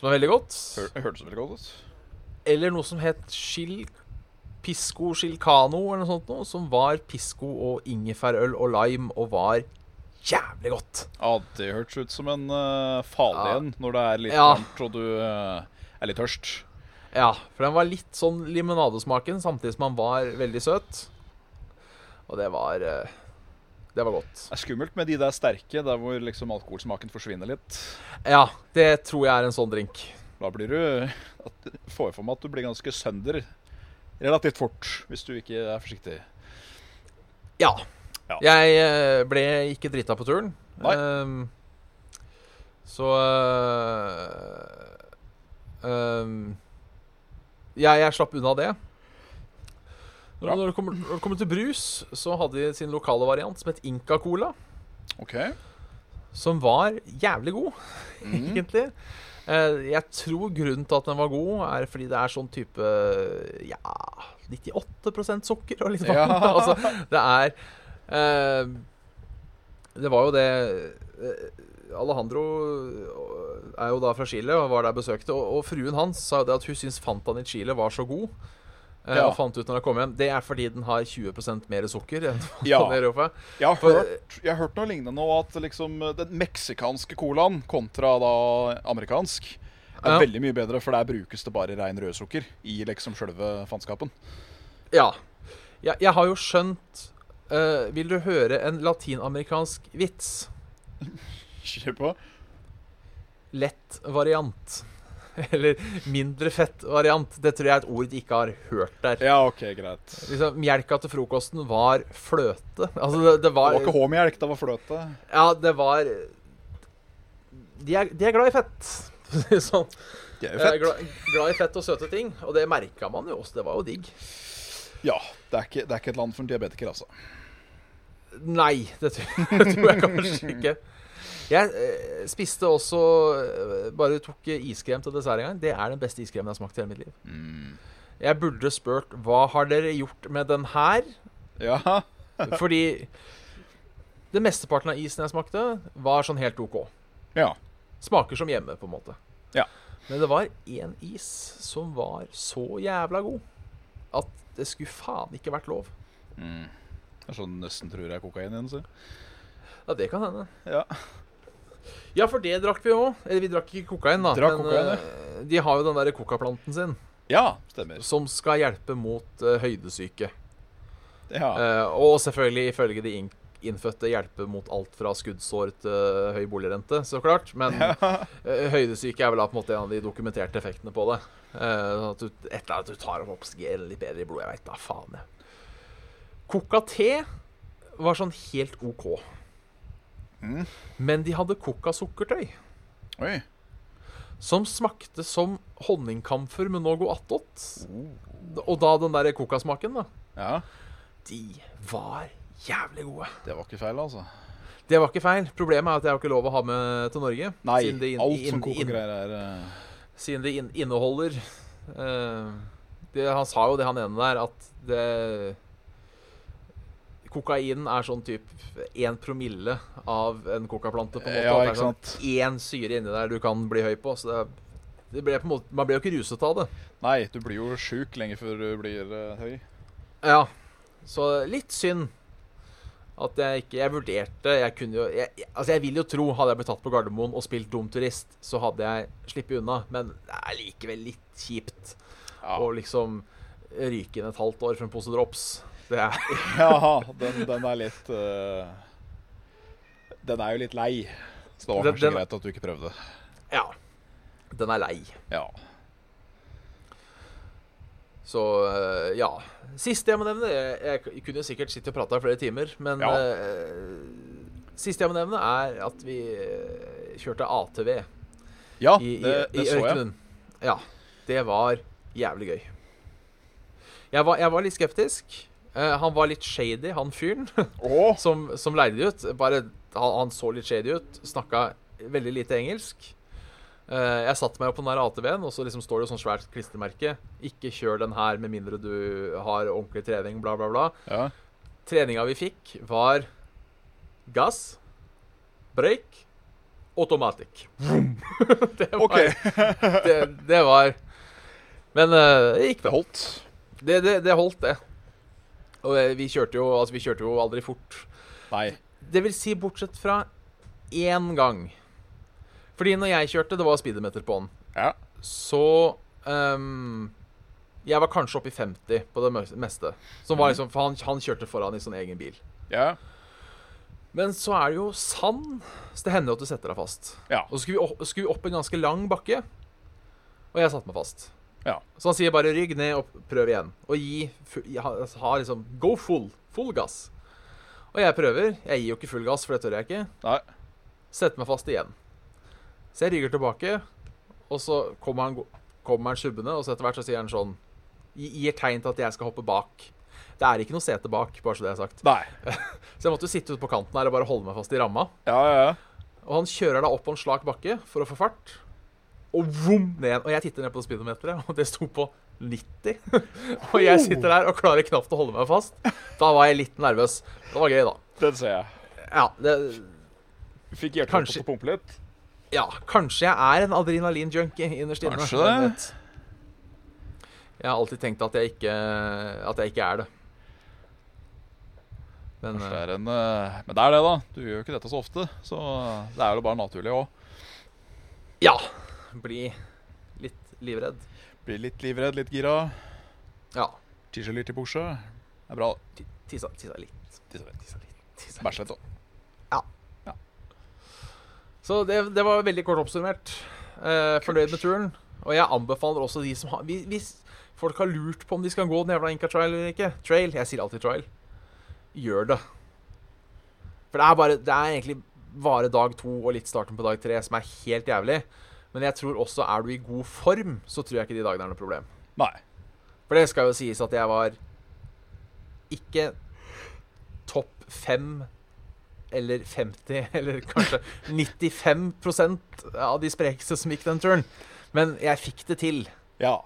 Som er veldig godt.
Hør, hørtes veldig godt ut.
Eller noe som het chil... Pisco chilcano eller noe sånt noe, som var pisco og ingefærøl og lime, og var jævlig godt.
Ja, det hørtes ut som en uh, farlig
Ja.
en når det er litt
Ja.
varmt og du eh, er litt tørst.
Ja, for den var litt sånn limonadesmaken, samtidig som den var veldig søt. Og det var eh, Det var godt.
Det er skummelt med de der sterke, der hvor liksom alkoholsmaken forsvinner litt.
Ja, det tror jeg er en sånn drink.
Da blir du at, Får jeg for meg at du blir ganske sønder relativt fort, hvis du ikke er forsiktig.
Ja.
Ja.
Jeg eh, ble ikke drita på turen.
Nei.
Ehm, så eh, ehm, jeg, jeg slapp unna det. Når,
Bra.
når, det kommer, når det kommer til brus, så hadde de sin lokale variant som het Inca Cola.
OK.
som var jævlig god,
Mm.
egentlig. Eh, Jeg tror grunnen til at den var god, er fordi det er sånn type ja 98 sukker og litt vann.
Ja.
altså, det er eh, Det var jo det eh, Alejandro eh, er jo da fra Chile og var der og besøkte. Og, og fruen hans sa jo det at hun syns Fantaen i Chile var så god. eh,
Ja.
Og fant ut når hun kom hjem Det er fordi den har 20 mer sukker enn
Ja.
Fantaen i Europa.
Jeg har,
For-
hørt, jeg har hørt noe lignende nå, at liksom den meksikanske colaen kontra da amerikansk er
Ja.
veldig mye bedre, for der brukes det bare rein rødsukker i liksom sjølve faenskapen.
Ja. Jeg, jeg har jo skjønt eh, Vil du høre en latinamerikansk vits?
Kjør på.
Lett variant. Eller mindre fett variant. Det tror jeg er et ord de ikke har hørt der.
Ja, OK, greit.
Liksom, Melka til frokosten var fløte. Altså, det, det
Det
var
var ikke H-melk, det var fløte.
Ja, det var De er, de er glad i fett. For å si det sånn.
Det er jo
Eh,
fett.
Glad, glad i fett og søte ting. Og det merka man jo også. Det var jo digg.
Ja, det er, ikke, det er ikke et land for diabetikere, altså.
Nei, det tror, det tror jeg kanskje ikke. Jeg eh, spiste også eh, Bare tok eh, iskrem til dessert en gang. Det er den beste iskremen jeg har smakt i hele mitt liv.
Mm.
Jeg burde spurt hva har dere gjort med den her?
Ja.
Fordi det mesteparten av isen jeg smakte, var sånn helt OK.
ja.
Smaker som hjemme, på en måte.
Ja.
Men det var én is som var så jævla god at det skulle faen ikke vært lov.
Mm. Det er sånn nesten tror jeg er kokain igjen, så.
Ja, det kan hende.
Ja.
Ja, for det drakk vi òg. Eller vi drakk ikke kokain, da.
Drakk kokain,
eh, de har jo den der kokaplanten sin,
Ja, stemmer.
som skal hjelpe mot eh, høydesyke.
Ja.
Eh, og selvfølgelig, ifølge de inn- innfødte, hjelpe mot alt fra skuddsår til eh, høy boligrente, så klart. Men eh, høydesyke er vel da på en måte en av de dokumenterte effektene på det. Eh, sånn at du, et eller annet du tar opp oksygen litt bedre i blodet. Jeg veit da faen, jeg. Coca-te var sånn helt OK.
Mm.
Men de hadde coca-sukkertøy.
Oi.
Som smakte som honningkamfer med noe attåt.
Oh.
Og da den der kokasmaken, da.
Ja,
De var jævlig gode.
det var ikke feil, altså.
Det var ikke feil. Problemet er at jeg har ikke lov å ha med til Norge.
Nei,
siden det inn-
alt som
inn- inn-
kokegreier er eh,
Siden det inn, inneholder eh, det, Han sa jo det han ene der, at det Kokainen er sånn typ én promille av en cocaplante, på en måte.
Ja,
At det er
ikke
sånn
sant.
Én syre inni der du kan bli høy på. Så det, er- det ble på en måte, man ble jo ikke ruset av det.
Nei, du blir jo sjuk lenge før du blir eh, høy.
Ja. Så litt synd at jeg ikke Jeg vurderte Jeg kunne jo jeg, jeg- Altså, jeg vil jo tro, hadde jeg blitt tatt på Gardermoen og spilt dum turist, så hadde jeg sluppet unna, men det er likevel litt kjipt
Ja,
å liksom ryke inn et halvt år for en pose drops. Det er
ja den, den er litt eh, Den er jo litt lei. Så det var
Den-
kanskje
den-
greit at du ikke prøvde.
Ja. Den er lei.
Ja.
Så eh, ja. Siste jeg må nevne Jeg, jeg kunne jo sikkert sitte og prate i flere timer, men
Ja.
eh, Siste jeg må nevne, er at vi eh, kjørte ATV.
Ja,
i, i,
det,
i
det så jeg.
ørkenen. Ja. Det var jævlig gøy. Jeg var, jeg var litt skeptisk. Eh, han var litt shady, han fyren
Å,
som, som leide de ut. Bare, han, han så litt shady ut. Snakka veldig lite engelsk. Eh, jeg satte meg opp på den der ATV-en, og så liksom står det jo sånn svært klistremerke. 'Ikke kjør den her med mindre du har ordentlig trening', bla, bla, bla.
ja.
Treninga vi fikk, var gass, brøyk, automatic. det var
OK.
det, det var Men eh, det gikk
Det
bra.
holdt.
Det, det, det holdt, det. Og eh, vi kjørte jo Altså, vi kjørte jo aldri fort.
Nei.
Det vil si, bortsett fra én gang. Fordi når jeg kjørte, det var speedometer på den,
Ja.
så ehm, Jeg var kanskje oppe i 50 på det mø- meste. Som var liksom, For han, han kjørte foran i sånn egen bil.
Ja.
Men så er det jo sand, så det hender jo at du setter deg fast.
Ja.
Og så skulle vi, opp, skulle vi opp en ganske lang bakke, og jeg satte meg fast.
Ja.
Så han sier bare 'rygg ned og prøv igjen', og gi fu- ha ha liksom 'go full', full gass. Og jeg prøver. Jeg gir jo ikke full gass, for det tør jeg ikke.
Nei.
Setter meg fast igjen. Så jeg rygger tilbake, og så kommer han, gå- kommer han sjubbende, og så etter hvert så sier han sånn gi- Gir tegn til at jeg skal hoppe bak. Det er ikke noe sete bak, bare så det er sagt.
Nei.
Så jeg måtte jo sitte ute på kanten her og bare holde meg fast i ramma.
Ja, ja, ja.
Og han kjører da opp på en slak bakke for å få fart. Og vom ned igjen. Og jeg titter ned på speedometeret, og det sto på 90. og jeg sitter der og klarer knapt å holde meg fast. Da var jeg litt nervøs. Det var gøy, da.
Den ser jeg.
Ja, det,
Fikk hjertet
Kanskje-
til å pumpe litt.
ja kanskje jeg er en adrenalinjunkie innerst inne.
Kanskje det.
Hvem vet? Jeg har alltid tenkt at jeg ikke, at jeg ikke er det. Men
Kanskje det
eh,
er en, eh, men det er det, da. Du gjør jo ikke dette så ofte, så det er jo bare naturlig å
ja, bli litt livredd.
bli litt livredd, litt gira.
Ja.
Tisser litt i buksa. Det er bra.
ti- Tissa, tissa litt.
Tisser litt.
Tissa litt. Tissa litt.
Bæsj litt òg.
Så det, det var veldig kort oppsummert. Eh, fornøyd med turen. Og jeg anbefaler også de som har hvis, hvis folk har lurt på om de skal gå den jævla Inca Trail eller ikke Trail, jeg sier alltid trail. Gjør det. For det er bare Det er egentlig bare dag to og litt starten på dag tre som er helt jævlig. Men jeg tror også er du i god form, så tror jeg ikke de dagene er noe problem.
Nei.
For det skal jo sies at jeg var ikke topp fem eller 50, eller kanskje 95 av de sprekeste som gikk den turen. Men jeg fikk det til.
Ja.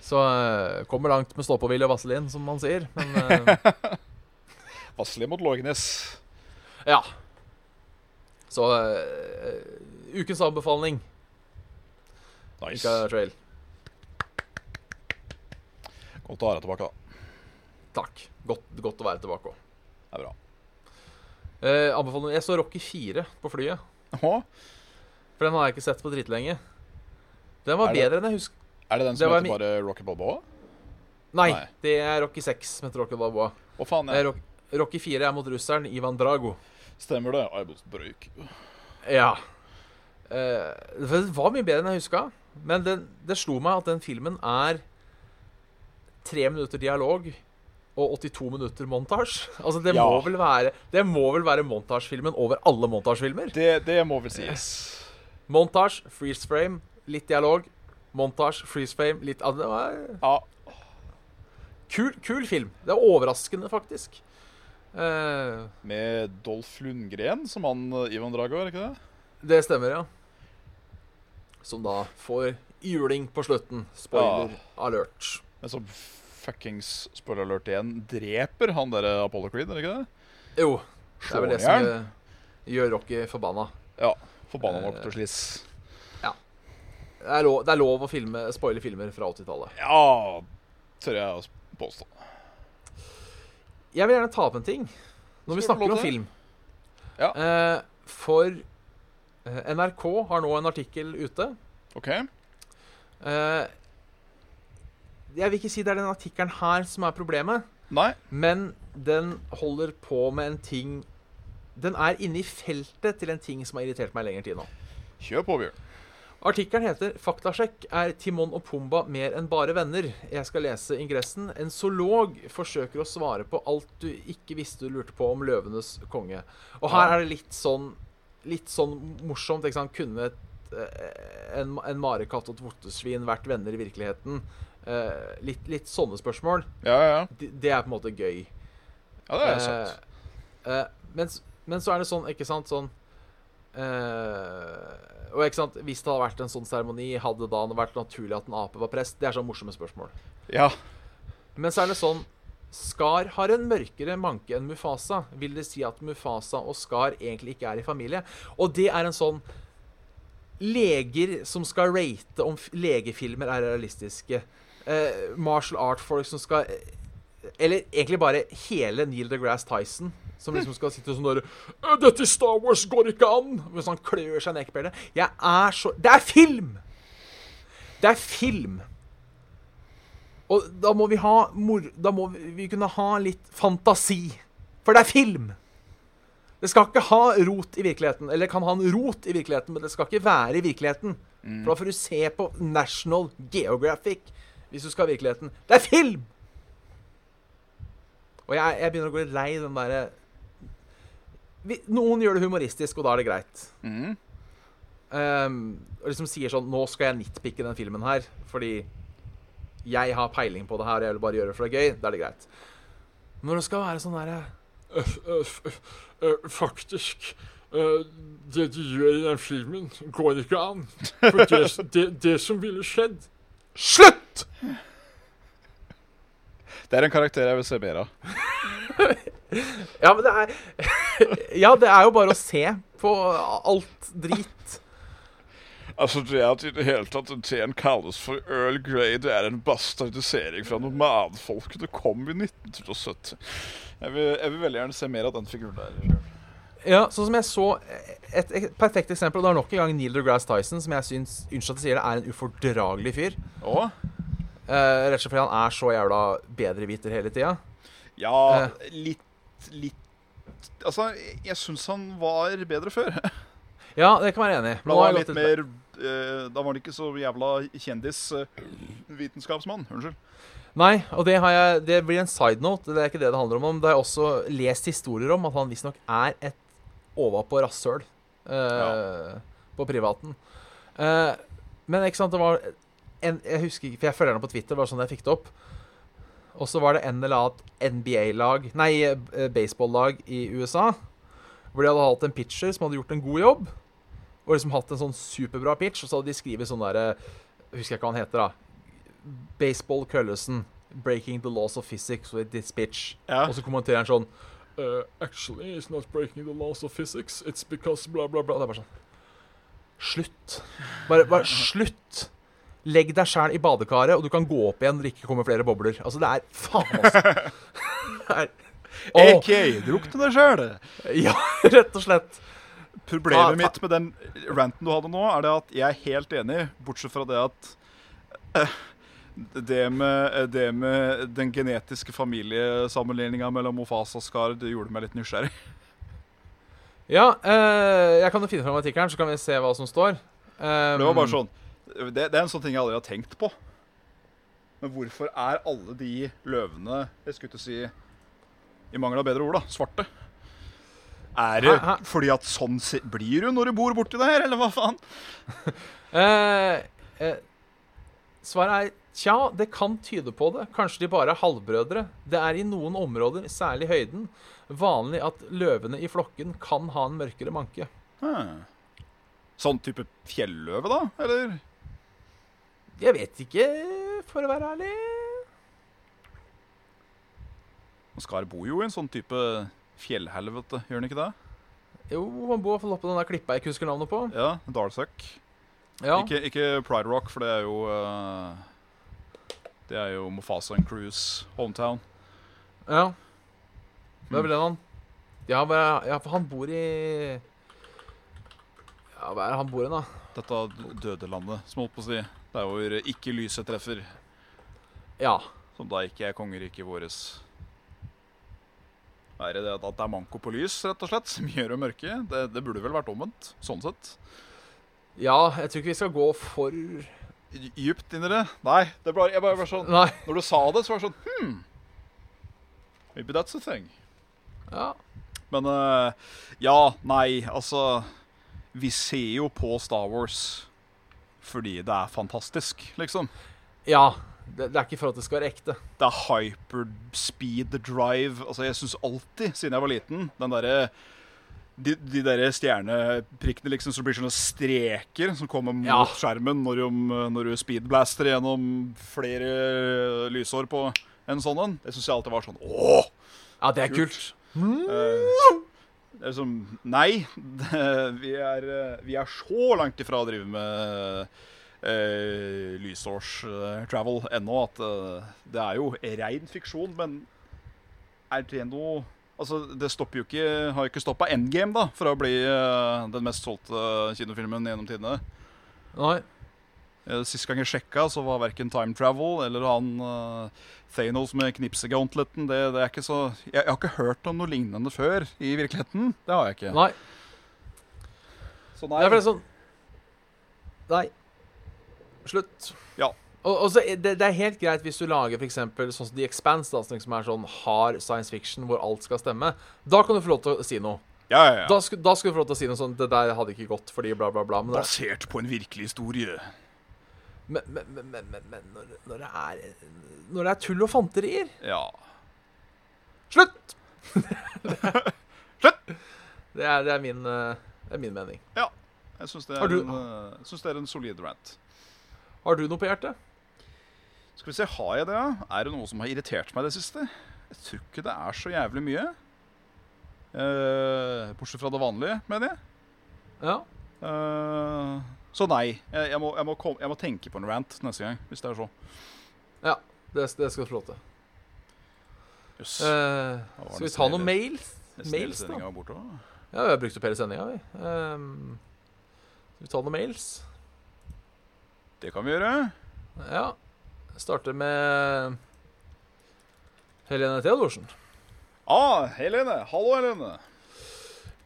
Så eh, kommer langt med ståpåvilje og vaselin, som man sier. Men eh,
Vasselig mot Lågnes.
ja. Så eh, ukens anbefaling,
Nice.
Ica Trail.
Godt å ha deg tilbake, da.
Takk. Godt, godt å være tilbake òg.
Det er bra.
anbefaling Jeg så Rocky 4 på flyet.
Å,
For den har jeg ikke sett på dritlenge. Den var
Er det-
bedre enn jeg husker.
er det den
Det
som
var
heter
min-
bare Rocky Balboa?
Nei,
Nei.
det er Rocky 6 som heter Rocky Balboa.
Å faen,
Eh,
jeg
Rock- Rocky 4 er mot russeren Ivan Drago.
stemmer det. Arbeidsbrøyk.
Ja. Eh, for det var mye bedre enn jeg huska. Men den, det slo meg at den filmen er tre minutter dialog og 82 minutter montasje. Altså, det,
Ja.
må vel være, det må vel være montasjefilmen over alle montasjefilmer.
Det, det må vel sies.
Montasje, freeze frame, litt dialog. Montasje, freeze frame, litt ah, det var
Ja.
kul, kul film. Det er overraskende, faktisk. Eh,
Med Dolph Lundgren som han eh, Ivan Drago, er det ikke det?
det stemmer, ja. Som da får juling på slutten. Spoiler alert.
Men som fuckings spoiler alert igjen dreper han der eh, Apollo Creed, er det ikke det?
Jo, det er vel det
Slår
som
han i hjel?
gjør- gjør Rocky forbanna.
Ja. Forbanna
Eh.
nok til sliss.
Det er lov, det er lov å filme, spoile filmer fra 80-tallet.
Ja, tør jeg å påstå.
Jeg vil gjerne ta opp en ting når vi
Skal du få
snakker
lov
om
til det?
film.
Ja.
Eh, for eh, NRK har nå en artikkel ute.
OK?
Eh, jeg vil ikke si det er den artikkelen her som er problemet,
Nei?
men den holder på med en ting Den er inne i feltet til en ting som har irritert meg lenger tid nå.
Kjør på, Bjørn.
Artikkelen heter 'Faktasjekk er Timon og Pumba mer enn bare venner'. Jeg skal lese ingressen. En zoolog forsøker å svare på alt du ikke visste du lurte på om løvenes konge. Og her
Ja.
er det litt sånn Litt sånn morsomt. Ikke sant? Kunne et, eh, en, en marekatt og et vortesvin vært venner i virkeligheten? Eh, litt, litt sånne spørsmål.
Ja, ja, ja.
Det, det er på en måte gøy.
Ja, det er sant.
Eh, eh, men, s- men så er det sånn, ikke sant, sånn eh, Og ikke sant, hvis det hadde vært en sånn seremoni, hadde det da vært naturlig at en ape var prest? Det er sånn morsomme spørsmål.
Ja.
Men så er det sånn Skar har en mørkere manke enn Mufasa. Vil det si at Mufasa og Skar egentlig ikke er i familie? Og det er en sånn Leger som skal rate om f- legefilmer er realistiske. Eh, martial art-folk som skal Eller egentlig bare hele Neil deGrasse Tyson. Som liksom skal sitte sånn der «Øh, 'Dette i Star Wars går ikke an!' Mens han klør seg i nekkbenet. Jeg er så Det er film! Det er film. Og da må vi ha mor... Da må vi, vi kunne ha litt fantasi. For det er film! Det skal ikke ha rot i virkeligheten. Eller kan ha en rot i virkeligheten, men det skal ikke være i virkeligheten. For da får du se på National Geographic hvis du skal ha virkeligheten. Det er film! Og jeg, jeg begynner å gå litt lei den derre Vi- Noen gjør det humoristisk, og da er det greit.
Mhm.
Ehm, og liksom sier sånn Nå skal jeg nitpicke den filmen her, fordi jeg har peiling på det her, og jeg vil bare gjøre det for det er gøy. Da er det greit. Når det skal være sånn derre
Faktisk Det de gjør i den filmen, går ikke an. For det, som ville skjedd
Slutt!
Det er en karakter jeg vil se mer av.
Ja, men det er Ja, det er jo bare å se på alt drit.
Altså, Det at i det hele tatt den teen kalles for Earl Grey, det er en bastardisering fra nomadfolket. Det kom i 1970. Jeg vil, jeg vil veldig gjerne se mer av den figuren der.
Ja, sånn som jeg så et, et perfekt eksempel, og det er nok en gang Neil deGrasse Tyson, som jeg syns Unnskyld at jeg sier det, er en ufordragelig fyr.
Å?
Eh, rett og slett fordi han er så jævla bedreviter hele tida.
Ja,
Eh.
litt litt Altså, jeg- jeg syns han var bedre før.
Ja, det kan jeg være enig i.
Da
Nå har
var han
jeg
litt
gått
mer eh, Da var han ikke så jævla kjendisvitenskapsmann. Unnskyld.
ut- Nei, og det, har jeg, det blir en side note. Det er ikke det det handler om. men Det har jeg også lest historier om at han visstnok er et ovenpå rasshøl eh,
Ja.
på privaten. Eh, men ikke sant, det var en, Jeg husker ikke, for jeg følger ham på Twitter, bare sånn jeg fikk det opp. Og så var det en eller annen NBA-lag Nei, eh, baseball-lag i USA. Hvor de hadde hatt en pitcher som hadde gjort en god jobb. Og liksom hatt en sånn superbra pitch, og så hadde de skrevet sånn derre Husker jeg ikke hva han heter, da. Baseball Køllesen. Breaking the laws of physics with this pitch.
Ja.
Og så kommenterer han sånn
uh, Actually, it's not breaking the laws of physics. It's because bla, bla,
Og
bla.
det er bare sånn Slutt. Bare, bare slutt. Legg deg sjæl i badekaret, og du kan gå opp igjen når det ikke kommer flere bobler. Altså, det er faen, altså. Det er-
Eh,
Åh,
AK, drukne deg sjøl!
ja, rett og slett.
Problemet
Ah,
mitt med den ranten du hadde nå, er det at jeg er helt enig, bortsett fra det at eh, det med, det med den genetiske familiesammenligninga mellom Mofasa og Skar det gjorde meg litt nysgjerrig.
Ja, eh, jeg kan jo finne fram artikkelen, så kan vi se hva som står. Um,
For det var bare sånn det, det er en sånn ting jeg aldri har tenkt på. Men hvorfor er alle de løvene Jeg skulle til å si I mangel av bedre ord, da. Svarte. Er det
Hæ, hæ?
fordi at sånn se- blir du når du bor borti der, eller hva faen?
Eh, eh, svaret er tja, det kan tyde på det. Kanskje de bare er halvbrødre. Det er i noen områder, særlig i høyden, vanlig at løvene i flokken kan ha en mørkere manke.
Hmm. Sånn type fjelløve, da? Eller?
Jeg vet ikke, for å være ærlig.
Skar bor jo i en sånn type fjellhelvete, gjør han ikke det?
Jo, han bor i hvert fall oppå den der klippa jeg ikke husker navnet på.
Ja, Darsuck.
Ja,
Ikke, ikke Pride Rock, for det er jo eh, Det er jo Mofasa and Cruise hometown.
ja. Det er vel den han ja, bare, ja, for han bor i Ja, hva er det han bor i, da?
Dette d- døde landet, som holdt på å si. Der hvor ikke lyset treffer.
Ja.
Som da ikke er kongeriket våres. Er det det at det er manko på lys, rett og slett, som gjør det mørke? Det, det burde vel vært omvendt, sånn sett.
Ja, jeg tror ikke vi skal gå for Nei.
Dy- Dypt inni det. Nei, det ble, jeg bare var sånn Når du sa det, så var det sånn hmm, Maybe that's a thing.
Ja.
Men eh, ja, nei, altså Vi ser jo på Star Wars fordi det er fantastisk, liksom.
Ja. Det, det er ikke for at det skal være ekte.
Det er hyperspeed drive. Altså, jeg syns alltid, siden jeg var liten, den derre de, de der stjerneprikkene liksom som blir sånne streker som kommer mot
Ja.
skjermen når du, når du speedblaster gjennom flere lysår på en sånn en. Det syns jeg alltid var sånn åh!
Ja, det er kult.
Eh, det er som Nei, det, vi, er, eh, vi er så langt ifra å drive med uh, lysårs-travel ennå at eh, det er jo rein fiksjon, men er det noe Altså, det stopper jo ikke Har jo ikke stoppa Endgame, da, fra å bli eh, den mest solgte eh, kinofilmen gjennom tidene.
Nei.
Eh, Sist gang jeg sjekka, så var verken Time Travel eller han eh, Thanos med knipsegauntleten det, det er ikke så jeg, jeg har ikke hørt om noe lignende før i virkeligheten. Det har jeg ikke.
Nei.
Så
Det er fordi sånn Nei. Slutt.
Ja.
Og, og så, er det, det er helt greit hvis du lager for eksempel sånn som The Expanse, da, som liksom er sånn hard science fiction hvor alt skal stemme. Da kan du få lov til å si noe.
Ja, ja, ja.
Da, sku, da skal du få lov til å si noe sånn Det der hadde ikke gått fordi bla, bla, bla. Men, det,
Basert på en virkelig historie.
men, men, men, men, men, men når, når, det er, når det er tull og fanterier
Ja.
Slutt! Slutt! Det er, det er, min, eh, det er min mening.
Jeg syns det,
Har
er
du-
en, eh, jeg synes det er en solid rant.
Har du noe på hjertet?
Skal vi se, har jeg det? ja? Er det noe som har irritert meg i det siste? Jeg tror ikke det er så jævlig mye. Eh, bortsett fra det vanlige, mener jeg.
Ja.
Eh, så nei. Jeg, jeg, må, jeg, må kom, jeg må tenke på en rant neste gang, hvis det er så.
Det, det skal du få lov til.
Jøss.
Eh,
Da var
skal
det
vi ta
snille-
noen mails?
Nesten hele
Mails, da?
sendingen var borte også.
Ja, vi har brukt opp hele sendinga, vi. Ehm, skal vi ta noen mails?
Det kan vi gjøre.
Ja. Starter med Helene Theodorsen.
Ah, Helene. Hallo, Helene.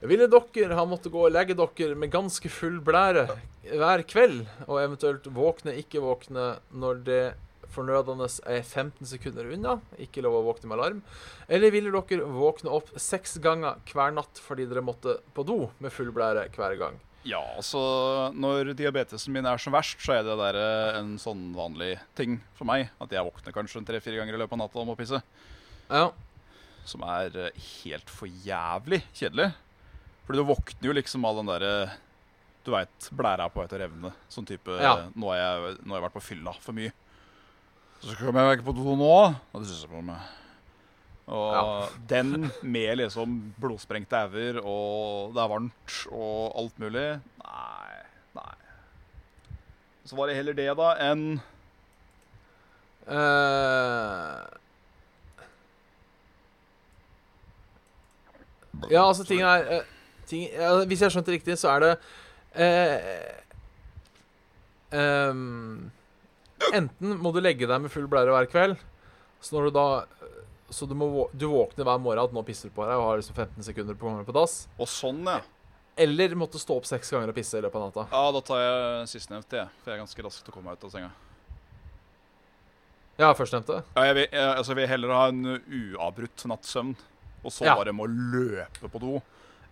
Ville dere ha måttet gå og legge dere med ganske full blære hver kveld, og eventuelt våkne, ikke våkne, når det fornødende er 15 sekunder unna, ikke lov å våkne med alarm, eller ville dere våkne opp seks ganger hver natt fordi dere måtte på do med full blære hver gang?
Ja, altså Når diabetesen min er som verst, så er det der eh, en sånn vanlig ting for meg. At jeg våkner kanskje en tre-fire ganger i løpet av natta og må pisse.
Ja.
Som er eh, helt for jævlig kjedelig. Fordi du våkner jo liksom av den derre Du veit blæra er på vei til å revne. Sånn type
Ja.
nå, har jeg, 'Nå har jeg vært på fylla for mye'. Så kommer jeg ikke på do nå. Og det synes jeg på meg. Og
Ja.
den med liksom blodsprengte auger, og det er varmt, og alt mulig Nei. Nei. Så var det heller det, da, enn
Eh, ja, altså, ting er eh, ting, ja, Hvis jeg har skjønt det riktig, så er det eh, ehm, Enten må du legge deg med full blære hver kveld, så når du da Så du, må, vå- du våkner hver morgen at nå pisser du på deg og har liksom 15 sekunder på å komme på dass.
Og sånn, ja.
Eller måtte stå opp seks ganger og pisse i løpet av natta.
Ja, Da tar jeg sistnevnte, jeg. For jeg er ganske rask til å komme meg ut av senga.
Ja, førstnevnte.
Ja, jeg vil, jeg, altså, jeg vil heller ha en uavbrutt nattsøvn, og så
Ja.
bare må løpe på do,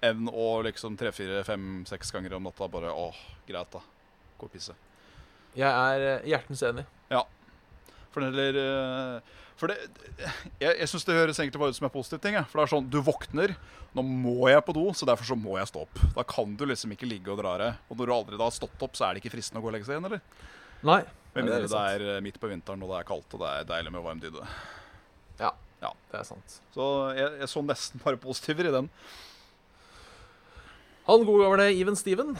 enn å liksom tre-fire-fem-seks ganger om natta bare Åh, greit, da. Gå og pisse.
Jeg er eh, hjertens enig.
For det heller eh, For det Jeg, jeg syns det høres egentlig bare ut som en positiv ting. Jeg. For det er sånn, du våkner, nå må jeg på do, så derfor så må jeg stå opp. Da kan du liksom ikke ligge og dra deg. Og når du aldri da har stått opp, så er det ikke fristende å gå og legge seg igjen, eller?
Nei.
Med
Ja, det er
mindre
litt
det
sant.
er eh, midt på vinteren, og det er kaldt, og det er deilig med varm dydde.
Det er sant.
Så jeg, jeg så nesten bare positiver i den.
Han gode gamle Even Steven,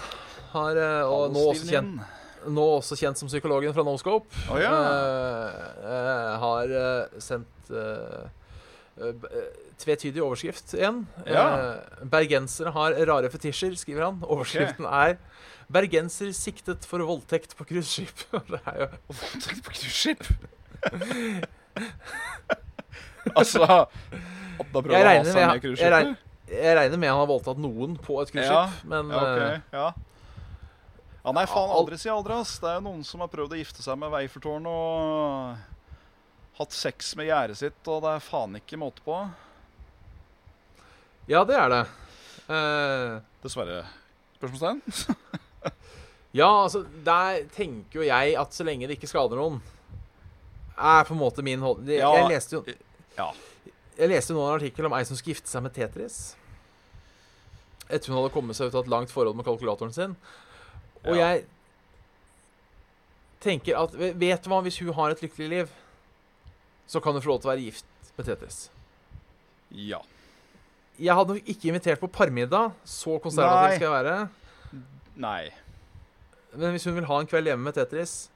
har, eh, og nå også, kjent,
Halvstivning.
nå også kjent som psykologen fra Noscope,
Å ja.
eh, eh, har eh, sendt eh, eh, b- eh, tvetydig overskrift igjen.
Ja.
Eh, bergensere har rare fetisjer, skriver han. Overskriften er 'Bergenser siktet for voldtekt på cruiseskip'. det er jo
Og voldtekt på cruiseskip? altså Da prøver
Jeg
jeg å
regner
ha
med-
seg med
jeg regner-
cruiseskip?
Jeg regner med han har voldtatt noen på et cruiseskip,
Ja.
men
Ja,
eh,
ok. Ja. ja, nei, faen.
Al-
Aldri si aldri, ass. Det er jo noen som har prøvd å gifte seg med Weifertårn og hatt sex med gjerdet sitt, og det er faen ikke måte på.
ja, det er det. Eh,
Dessverre. Spørsmålstegn?
Ja, altså, der tenker jo jeg at så lenge det ikke skader noen, er på en måte min holdning. Jeg,
Ja,
jeg leste jo
ja.
Jeg leste jo nå en artikkel om ei som skulle gifte seg med Tetris. Etter hun hadde kommet seg ut av et langt forhold med kalkulatoren sin. Og
Ja.
jeg tenker at Vet du hva, hvis hun har et lykkelig liv, så kan hun få lov til å være gift med Tetris.
Ja.
Jeg hadde nok ikke invitert på parmiddag, så konservativ
Nei.
skal jeg være.
Nei.
Men hvis hun vil ha en kveld hjemme med Tetris,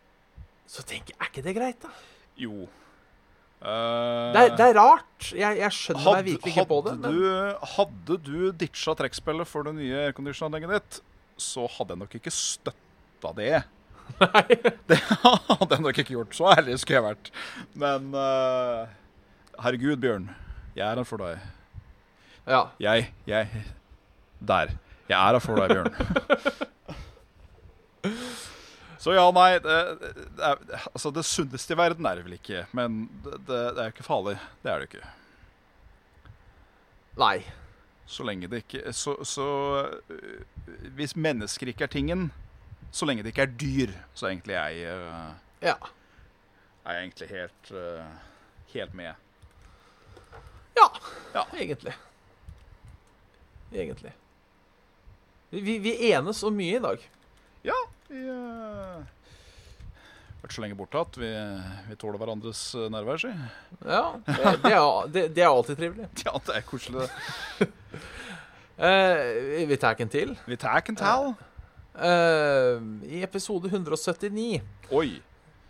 så tenker jeg, er ikke det greit, da?
Jo. Eh,
Det er, det er rart. Jeg, jeg skjønner meg virkelig ikke på det.
hadde
Men,
du, hadde du ditcha trekkspillet for det nye airconditionanlegget ditt, så hadde jeg nok ikke støtta det. Det hadde jeg nok ikke gjort. Så ærlig skulle jeg vært. Men eh, herregud, Bjørn. Jeg er her for deg.
ja.
Jeg, jeg Der. Jeg er her for deg, Bjørn. Så ja, nei det, det, er, altså det sunneste i verden er det vel ikke. Men det, det, det er jo ikke farlig. Det er det jo ikke.
Nei.
Så lenge det ikke Så, så øh, Hvis mennesker ikke er tingen, så lenge det ikke er dyr, så er egentlig jeg øh,
Ja.
eh, Er jeg egentlig helt øh, Helt med.
Ja. Ja, egentlig. Egentlig. Vi, vi, vi enes om mye i dag.
Vi har vært så lenge borte at vi, vi tåler hverandres eh, nærvær, si.
Ja, Det, det, er, det, det er alltid trivelig.
Ja, det er koselig. det.
Eh, vi- vi tar en til.
Vi tar en tall.
Eh, I episode 179
Oi.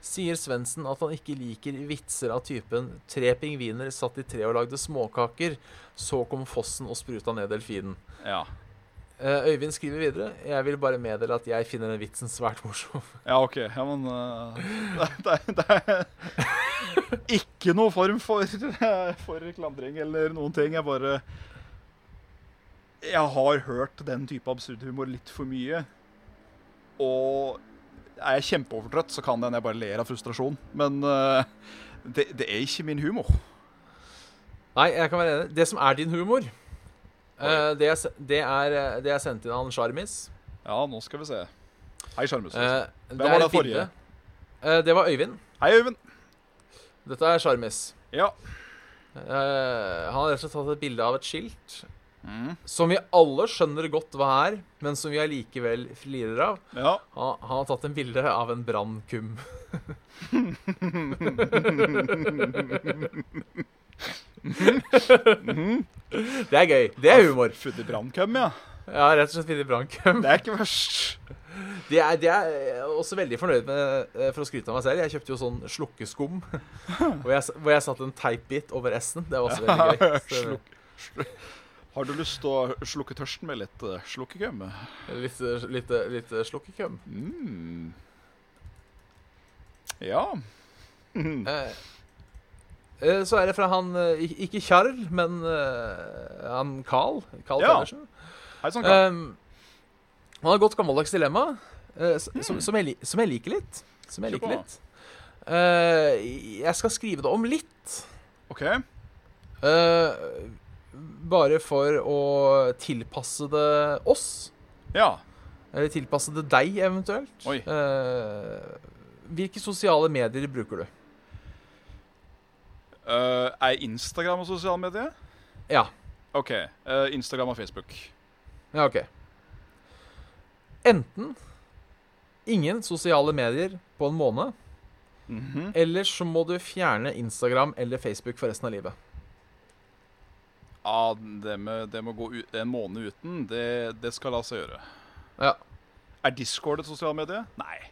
sier Svendsen at han ikke liker vitser av typen 'tre pingviner satt i tre og lagde småkaker', så kom fossen og spruta ned delfinen.
Ja.
Eh, Øyvind skriver videre Jeg vil bare meddele at jeg finner den vitsen svært morsom.
Ja, OK. Ja, men eh, det, er- det, er- det er ikke noe form for, eh, for klandring eller noen ting. Jeg bare Jeg har hørt den type absurd humor litt for mye. Og er jeg kjempeovertrøtt, så kan det hende jeg bare ler av frustrasjon. Men eh, det, det er ikke min humor.
Nei, jeg kan være enig. Det som er din humor, eh, det, er, se- det, er, eh, det er sendt inn av han Sjarmis.
Ja, nå skal vi se. Hei, Sjarmus.
Eh, det
var
er
det
et bilde. Eh, det var Øyvind.
Hei, Øyvind.
Dette er Sjarmis.
Ja.
Eh, han har rett og slett tatt et bilde av et skilt
Mm.
som vi alle skjønner godt hva er, men som vi allikevel flirer av.
ja.
Han, han har tatt en bilde av en brannkum. det er gøy. Det er humor.
Futt i brannkøm, ja.
Ja, rett og slett funnet brannkum.
Det er ikke verst.
Det er, det er jeg også veldig fornøyd med, eh, for å skryte av meg selv. Jeg kjøpte jo sånn slukkeskum, hvor jeg, s- hvor jeg satte en teipbit over S-en. Det var også veldig gøy. Så,
Slukk- slukk- Har du lyst til å slukke tørsten med litt eh, slukkegum?
litt, eh, litt, eh, litt eh, slukkekum.
Mm. Ja. Mm.
Eh, eh, Så er det fra han eh, ik- Ikke Kjarl, men eh, han Carl. Carl
Ja.
Pedersen.
Hei sann, Karl.
Um, han har et godt gammeldags dilemma, eh, s- som, som, jeg, li- som jeg liker litt. Som jeg
Mm. Kjør
liker
på.
litt. Eh, jeg skal skrive det om litt,
OK.
eh, bare for å tilpasse det oss.
Ja.
Eller tilpasse det deg, eventuelt.
Oi.
Eh, hvilke sosiale medier bruker du?
Eh, er Instagram og sosiale medier?
Ja.
OK. eh, Instagram og Facebook.
Ja, ok. Enten ingen sosiale medier på en måned,
Mhm.
eller så må du fjerne Instagram eller Facebook for resten av livet.
Ja, det med, det med å gå ut, en måned uten, det, det skal la seg gjøre.
Ja.
Er Discord et sosialt medie? Nei.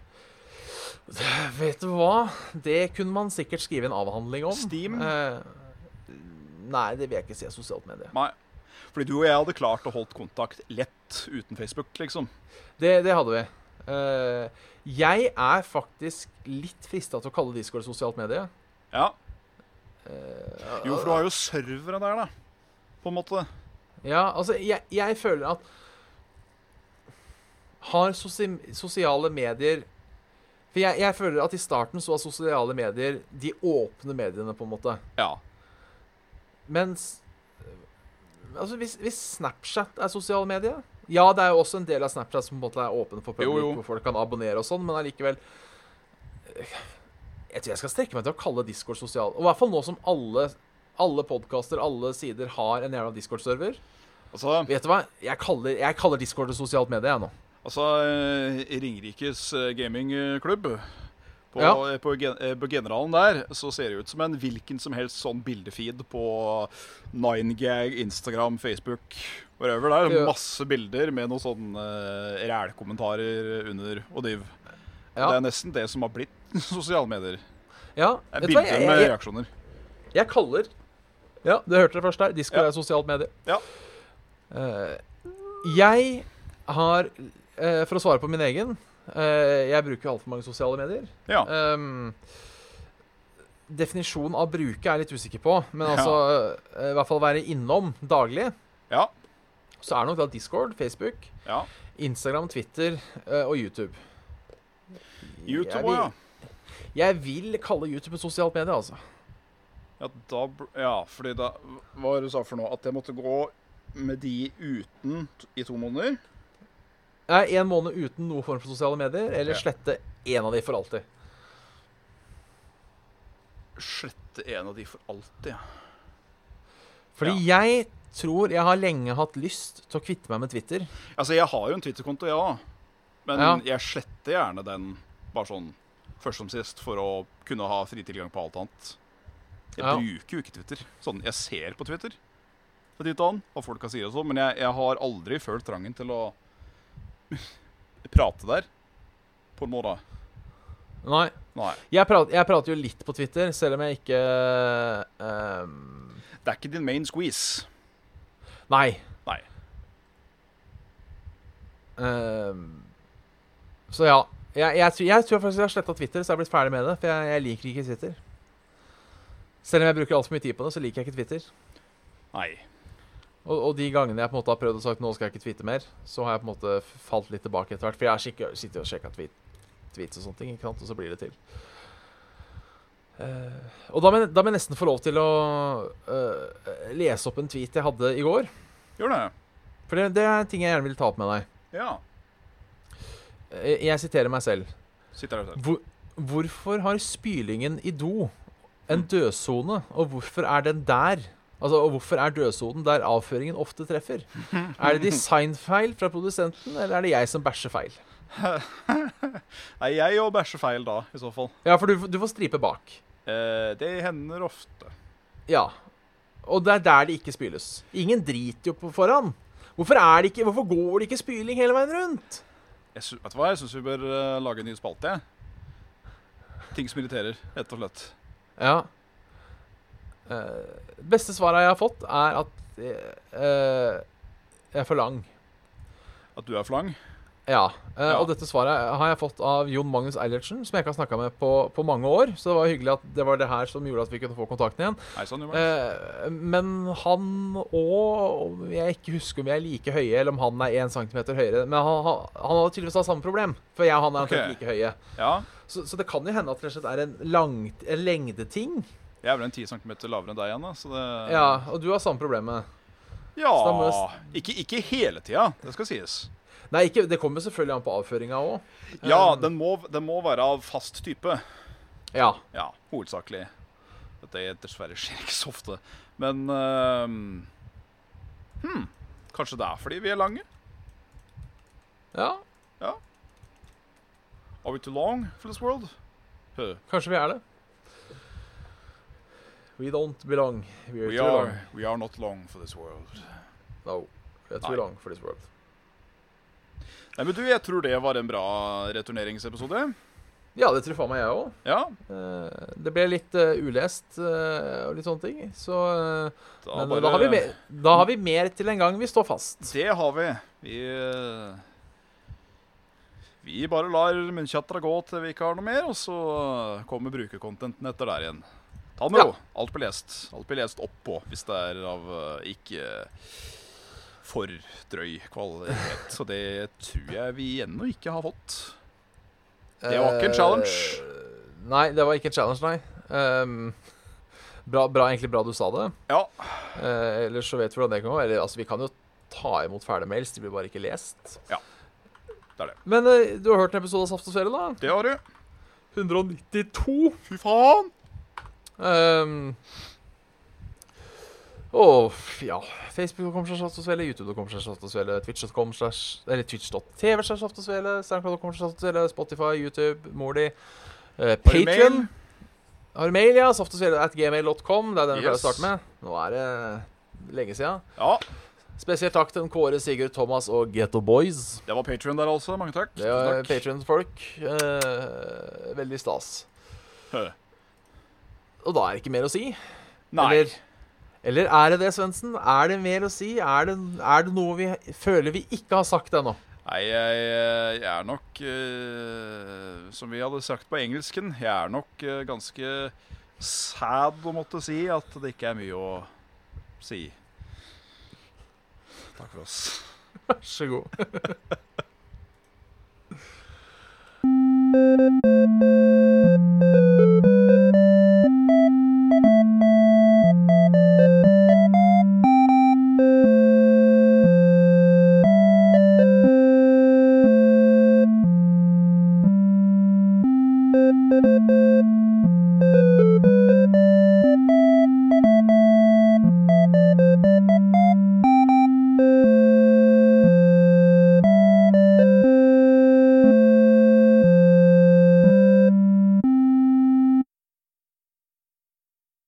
Vet du hva? Det kunne man sikkert skrive en avhandling om.
Steam?
Eh, nei, det vil jeg ikke si er sosialt medie.
Nei. Fordi du og jeg hadde klart å holdt kontakt lett uten Facebook, liksom.
Det, det hadde vi. Eh, jeg er faktisk litt frista til å kalle Discord sosialt medie.
Ja.
Eh,
Jo, for du har jo servere der, da. På en måte.
Ja, altså, jeg, jeg føler at Har sosi sosiale medier For jeg, jeg føler at i starten så var sosiale medier de åpne mediene, på en måte.
Ja.
Mens øh, Altså, hvis, hvis Snapchat er sosiale medier Ja, det er jo også en del av Snapchat som på en måte er åpen for publikum,
Jo, jo.
hvor folk kan abonnere og sånn, men allikevel øh, Jeg tror jeg skal strekke meg til å kalle Discord sosial. Og i hvert fall nå som alle alle podkaster, alle sider, har en jævla Discord-server.
Altså,
Vet du hva? Jeg kaller, jeg kaller Discord et sosialt medie, jeg nå.
altså eh, Ringerikes eh, gamingklubb på,
Ja.
eh, på, gen- eh, på Generalen der så ser det ut som en hvilken som helst sånn bildefeed på 9gag, Instagram, Facebook, whatever. Det
Ja.
er masse bilder med noen sånne uh, rælkommentarer under og div.
Ja,
Det er nesten det som har blitt sosiale medier.
ja.
Det
Vet du hva?
er bilder
Jeg,
med
jeg, jeg,
reaksjoner.
jeg kaller Ja, du hørte det først her. Discord
Ja.
er et sosialt medie.
Ja.
Eh, jeg har eh, For å svare på min egen eh, Jeg bruker altfor mange sosiale medier.
Ja.
Um, definisjonen av bruke er jeg litt usikker på, men
Ja.
altså eh, I hvert fall være innom daglig,
Ja.
så er det nok da Discord, Facebook,
ja.
Instagram, Twitter eh, og YouTube.
YouTube
Jeg
òg,
vil-
ja.
Jeg vil kalle YouTube et sosialt medie, altså.
Ja, da, br- ja, fordi da Hva var det du sa for noe? At jeg måtte gå med de uten t- i to måneder?
Jeg er en måned uten noen form for sosiale medier, eller
Ja.
slette én av de for alltid.
Slette en av de for alltid, ja.
Fordi jeg tror jeg har lenge hatt lyst til å kvitte meg med Twitter.
Altså, jeg har jo en Twitter-konto, ja. Men
Ja.
jeg sletter gjerne den bare sånn først som sist for å kunne ha fri tilgang på alt annet. Jeg
Ja.
bruker jo ikke Twitter. Sånn, Jeg ser på Twitter fra tid til annen hva folka sier og sånn, men jeg, jeg har aldri følt trangen til å prate der. På en måte.
Nei.
Nei.
Jeg, prat, jeg prater jo litt på Twitter, selv om jeg ikke ehm,
Det er ikke din main squeeze.
Nei.
Nei.
Ehm, så ja. Jeg, jeg, tror- jeg tror faktisk jeg har sletta Twitter, så jeg er blitt ferdig med det. For jeg, jeg liker ikke Twitter. Selv om jeg bruker altfor mye tid på det, så liker jeg ikke Twitter.
Nei.
Og, og de gangene jeg på en måte har prøvd å sagt nå skal jeg ikke tweete mer, så har jeg på en måte falt litt tilbake etter hvert. For jeg har skikke- sitter og sjekka tweet, tweets og sånne ting, ikke sant? og så blir det til. Eh, og da må, jeg, da må jeg nesten få lov til å eh, lese opp en tweet jeg hadde i går.
Gjør det.
For det, det er en ting jeg gjerne vil ta opp med deg.
Ja.
Eh, jeg siterer meg selv.
Sitter der ute.
Hvor, hvorfor har spylingen i do en dødsone, og hvorfor er den der? Altså, og Hvorfor er dødsoden der avføringen ofte treffer? Er det designfeil fra produsenten, eller er det jeg som bæsjer feil?
Nei, jeg òg bæsjer feil da, i så fall.
Ja, for du, du får stripe bak.
Eh, det hender ofte.
Ja. Og det er der det ikke spyles. Ingen driter jo på foran. Hvorfor, er det ikke, hvorfor går det ikke spyling hele veien rundt?
Jeg sy vet du hva, jeg syns vi bør eh, lage en ny spalte. jeg. Ting som irriterer, rett og slett.
Ja. Eh, beste svaret jeg har fått, er at eh, eh, jeg er for lang.
At du er flang.
Ja. eh,
Ja.
Og dette svaret har jeg fått av Jon Magnus Eilertsen, som jeg ikke har snakka med på, på mange år. Så det var hyggelig at det var det her som gjorde at vi kunne få kontakten igjen.
Nei sann, Jørgen.
Eh, men han og om Jeg ikke husker om vi er like høye, eller om han er 1 cm høyere. Men han, han, han hadde tydeligvis hatt samme problem, for jeg og han er omtrent
Ok.
like høye.
Ja,
Så, så det kan jo hende at det rett og slett er en, langt, en lengdeting.
jeg er vel en 10 cm lavere enn deg igjen, da, så det
Ja, og du har samme problemet.
Ja,
så da må
Ikke, ikke hele tida, det skal sies.
Nei, ikke, det kommer selvfølgelig an på avføringa òg.
Ja,
Um.
den må, den må være av fast type.
Ja.
Ja, hovedsakelig. Dette er- dessverre skjer ikke så ofte. Men ehm, Hm. Kanskje det er fordi vi er lange?
ja.
Are we too long for this world? Huh.
Kanskje vi er det. We don't belong. We're
We
too long.
are, we are not long for this world.
No. We're too
Nei.
long for this world.
Nei, men du, Jeg tror det var en bra returneringsepisode.
Ja, det tror faen meg jeg òg.
Ja,
Det ble litt eh, ulest eh, og litt sånne ting. Så eh,
da,
Men
bare-
da, har vi mer, da har vi mer til en gang vi står fast.
Det har vi. Vi eh, Vi bare lar munnkjattera gå til vi ikke har noe mer, og så kommer brukercontenten etter der igjen. Ta det med
Ja.
ro. Alt blir lest. Alt blir lest oppå, hvis det er av eh, ikke for drøy kvalitet. Så det tror jeg vi ennå ikke har fått. Det var ikke en challenge.
Eh, Nei, det var ikke en challenge, nei. Ehm, bra, bra, egentlig bra du sa det.
Ja.
Eh, ellers så vet vi hvordan det kan gå. Eller, altså, vi kan jo ta imot ferdige mails, de blir bare ikke lest.
Ja. Det er det.
Men eh, du har hørt en episode av Saft og Svele, da?
Det har du.
192.
Fy faen!
Ehm, og f- ja Facebook.com slash Saft og Svele, YouTube.com slash Saft og Svele, Twitch.com slash Eller Twitch.tv slash Saft og Svele, Soundcloud.com slash Saft og Svele, Spotify, YouTube, Mordi, uh,
Har du mail?
Patrion Har du mail, ja? Saft og Svele at gmail.com. Det er den vi pleier å
Yes.
starte med. Nå er det lenge siden.
Ja,
Spesielt takk til Kåre, Sigurd, Thomas og Getto Boys.
det var Patrion der, altså. Mange takk.
Det er
Tusen takk.
Patrion-folk. eh, veldig stas.
Hø.
Og da er det ikke mer å si.
Nei.
Eller, eller er det det, Svendsen? Er det mer å si? Er det, er det noe vi føler vi ikke har sagt ennå?
Nei, jeg, jeg er nok eh, Som vi hadde sagt på engelsken, jeg er nok eh, ganske sad å måtte si at det ikke er mye å si. Takk for oss.
Vær så god.